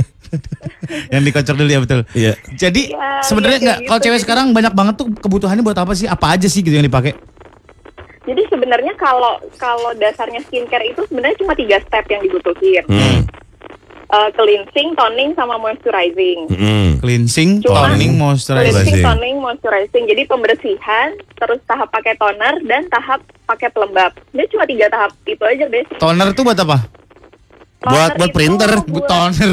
Speaker 2: Yang dikocor dulu ya betul.
Speaker 1: Iya.
Speaker 2: Jadi
Speaker 6: Iya,
Speaker 2: sebenarnya
Speaker 6: iya,
Speaker 2: nggak
Speaker 6: kayak
Speaker 2: kalau
Speaker 6: gitu.
Speaker 2: cewek sekarang banyak banget tuh kebutuhannya buat apa sih? Apa aja sih gitu yang dipakai?
Speaker 6: Jadi sebenarnya kalau kalau dasarnya skincare itu sebenarnya cuma tiga step yang dibutuhin.
Speaker 1: Hmm.
Speaker 6: Eh, cleansing, toning, sama moisturizing.
Speaker 1: Mm-mm.
Speaker 2: Cleansing,
Speaker 6: Cuma-
Speaker 2: toning, moisturizer.
Speaker 1: Hmm. Moisturizing.
Speaker 6: Cleansing, toning, moisturizing. Jadi pembersihan, terus tahap pakai toner dan tahap pakai pelembab. Dia cuma tiga tahap itu aja, Bes.
Speaker 2: Toner tuh buat apa?
Speaker 6: Toner
Speaker 1: Buat- buat
Speaker 6: itu
Speaker 1: printer,
Speaker 6: buat-
Speaker 2: Toner.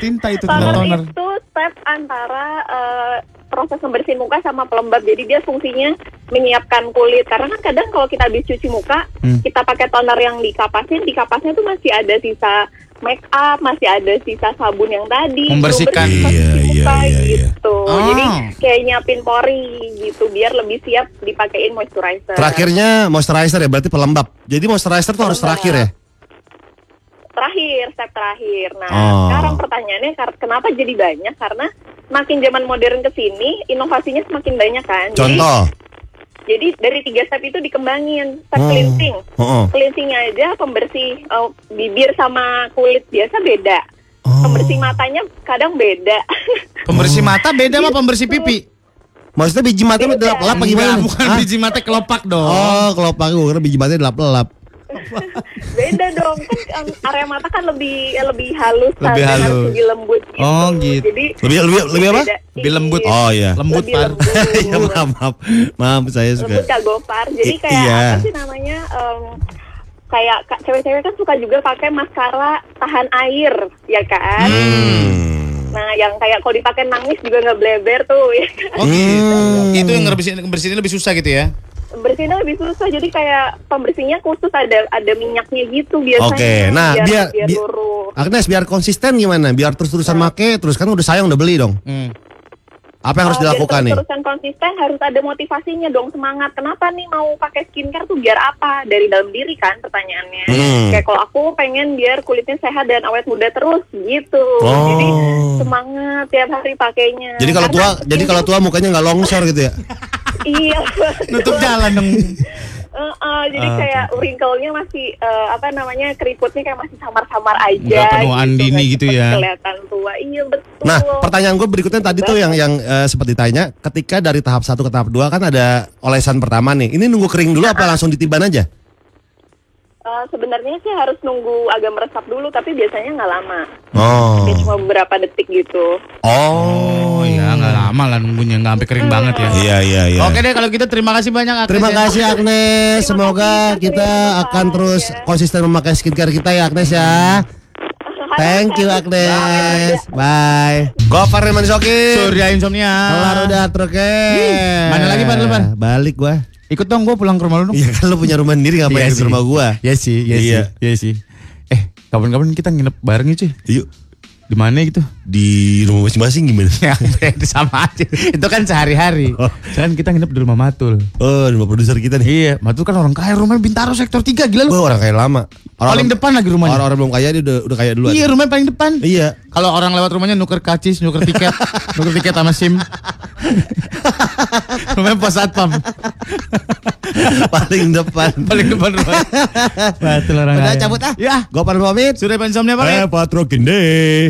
Speaker 2: Tinta itu
Speaker 6: toner,
Speaker 2: toner. toner.
Speaker 6: itu step antara eh, proses membersihin muka sama pelembab. Jadi dia fungsinya menyiapkan kulit. Karena kan kadang kalau kita habis cuci muka,
Speaker 2: Hmm.
Speaker 6: kita pakai toner yang dikapasin, di kapasnya tuh masih ada sisa make up, masih ada sisa sabun yang tadi. belum
Speaker 2: Membersihkan.
Speaker 6: bersih, masih
Speaker 1: Iya,
Speaker 6: cuci
Speaker 1: iya,
Speaker 6: muka
Speaker 1: iya, iya.
Speaker 6: Gitu.
Speaker 2: Oh.
Speaker 6: Jadi kayak nyiapin pori gitu biar lebih siap dipakein moisturizer.
Speaker 1: Terakhirnya moisturizer ya berarti pelembab. Jadi moisturizer tuh harus
Speaker 6: Pelembab.
Speaker 1: terakhir ya.
Speaker 6: terakhir step terakhir. Nah,
Speaker 1: Oh.
Speaker 6: sekarang pertanyaannya kar- kenapa jadi banyak? Karena makin zaman modern ke sini, inovasinya semakin banyak kan. Jadi-
Speaker 1: Contoh.
Speaker 6: Jadi, dari tiga step itu dikembangin. Step
Speaker 1: Oh.
Speaker 6: cleansing.
Speaker 1: Oh, oh.
Speaker 6: Cleansingnya aja pembersih eh, bibir sama kulit biasa beda.
Speaker 1: Oh.
Speaker 6: Pembersih matanya kadang beda.
Speaker 2: Pembersih mata beda
Speaker 6: Iya,
Speaker 2: sama pembersih pipi.
Speaker 1: Maksudnya biji matanya
Speaker 6: Beda.
Speaker 1: delap-delap apa gimana?
Speaker 6: Iya.
Speaker 2: Enggak, bukan
Speaker 1: Hah?
Speaker 2: biji mata kelopak dong.
Speaker 1: Oh, kalau pakai gue kira biji matanya delap-delap.
Speaker 6: beda dong. Kan em, area mata kan lebih ya, lebih halus kan,
Speaker 2: Lebih
Speaker 6: dan
Speaker 2: halus.
Speaker 6: harus lebih lembut gitu.
Speaker 2: Oh, gitu.
Speaker 6: Jadi
Speaker 1: Lebih lebih lebih apa?
Speaker 6: beda.
Speaker 2: Lebih lembut.
Speaker 6: Iya.
Speaker 1: Oh iya.
Speaker 2: Lembut
Speaker 6: Lebih
Speaker 2: par.
Speaker 6: lembut.
Speaker 1: ya maaf, maaf. Maaf saya
Speaker 6: lembut
Speaker 1: suka.
Speaker 6: Kak Gopar. Jadi
Speaker 1: I-
Speaker 6: kayak
Speaker 1: iya.
Speaker 6: apa sih namanya? em, kayak ka- cewek-cewek kan suka juga pakai maskara tahan air, ya kan?
Speaker 1: Hmm.
Speaker 6: Nah, yang kayak kalau dipakai nangis juga nggak bleber tuh. Ya. kan?
Speaker 2: Oh, gitu.
Speaker 6: Iya.
Speaker 2: Itu yang ngebersihin bersihinnya lebih susah gitu ya.
Speaker 6: Bersihnya lebih susah. Jadi kayak pembersihnya khusus ada ada minyaknya gitu biasanya.
Speaker 1: Oke, nah biar
Speaker 6: biar,
Speaker 1: bi-
Speaker 6: luruh.
Speaker 1: Agnes biar konsisten gimana? Biar terus-terusan make, terus kan udah sayang udah beli dong.
Speaker 2: Hmm.
Speaker 1: Apa yang harus
Speaker 6: Kalau
Speaker 1: dilakukan
Speaker 6: biar
Speaker 1: nih?
Speaker 6: Terusan Eh, konsisten harus ada motivasinya dong semangat. Kenapa nih mau pakai skincare tuh biar apa? Dari dalam diri kan pertanyaannya.
Speaker 1: Hmm.
Speaker 6: Kayak kalau aku pengen biar kulitnya sehat dan awet muda terus gitu.
Speaker 1: Oh.
Speaker 6: Jadi semangat tiap hari pakainya.
Speaker 1: Jadi kalau tua,
Speaker 6: Karena
Speaker 1: jadi kalau tua mukanya nggak longsor gitu ya?
Speaker 6: iya.
Speaker 2: Nutup jalan dong.
Speaker 6: Eh, eh,
Speaker 1: Ah,
Speaker 6: jadi kayak wrinkle-nya masih eh, apa namanya keriputnya kayak masih samar-samar aja.
Speaker 2: Nggak penuaan
Speaker 6: gitu,
Speaker 2: dini
Speaker 6: nggak
Speaker 2: gitu
Speaker 6: cepet
Speaker 2: ya.
Speaker 6: Kelihatan tua. Iya betul.
Speaker 1: Nah, pertanyaan gue berikutnya tadi tuh yang yang eh, sempat ditanya, ketika dari tahap satu ke tahap dua kan ada olesan pertama nih. Ini nunggu kering dulu apa langsung ditiban aja?
Speaker 6: Eh, sebenarnya sih harus nunggu agak meresap dulu, tapi biasanya nggak lama.
Speaker 1: Oh.
Speaker 6: Ya, cuma beberapa detik gitu.
Speaker 1: Oh,
Speaker 2: Ya nggak lama lah nunggunya nggak sampai kering banget ya.
Speaker 1: Iya iya iya.
Speaker 2: Oke deh kalau gitu terima kasih banyak Agnes.
Speaker 1: Terima
Speaker 2: ya.
Speaker 1: kasih Agnes.
Speaker 6: Terima
Speaker 1: Semoga
Speaker 6: kasih,
Speaker 1: kita
Speaker 6: Agnes.
Speaker 1: akan terus
Speaker 6: Ya.
Speaker 1: konsisten memakai skincare kita ya Agnes ya. Thank you Agnes. Bye. Gopar Firman Soki.
Speaker 2: Surya Insomnia.
Speaker 1: Kelar udah terke.
Speaker 2: eh. Mana lagi, Pan, lu, Pan?
Speaker 1: Balik gua.
Speaker 2: Ikut dong gue pulang ke rumah lu dong.
Speaker 1: Iya kan lu punya rumah sendiri ngapain
Speaker 2: Iya
Speaker 1: di
Speaker 2: sih.
Speaker 1: rumah gua?
Speaker 2: Iya sih, iya sih,
Speaker 1: Iya.
Speaker 2: iya sih. Eh, kapan-kapan kita nginep bareng ya, cuy.
Speaker 1: Yuk
Speaker 2: Di mana gitu?
Speaker 1: di rumah masing-masing gimana?
Speaker 2: Ya, itu sama aja. Itu kan sehari-hari. Kan kita nginep di rumah Matul.
Speaker 1: Oh, rumah produser kita nih.
Speaker 2: Iya, Matul kan orang kaya rumahnya Bintaro sektor 3 gila lu.
Speaker 1: Gua orang kaya lama.
Speaker 2: paling depan lagi rumahnya.
Speaker 1: Orang-orang belum kaya dia udah, udah kaya duluan.
Speaker 2: iya, rumahnya paling depan.
Speaker 1: Iya.
Speaker 2: Kalau orang lewat rumahnya nuker kacis, nuker tiket, nuker tiket sama SIM. rumahnya pos satpam.
Speaker 1: paling depan.
Speaker 2: Paling depan rumahnya. Matul orang
Speaker 1: Udah
Speaker 2: kaya.
Speaker 1: cabut ah.
Speaker 2: Ya.
Speaker 1: Gopar pamit.
Speaker 2: Sudah pensomnya pakai.
Speaker 1: Eh, Patrokin deh.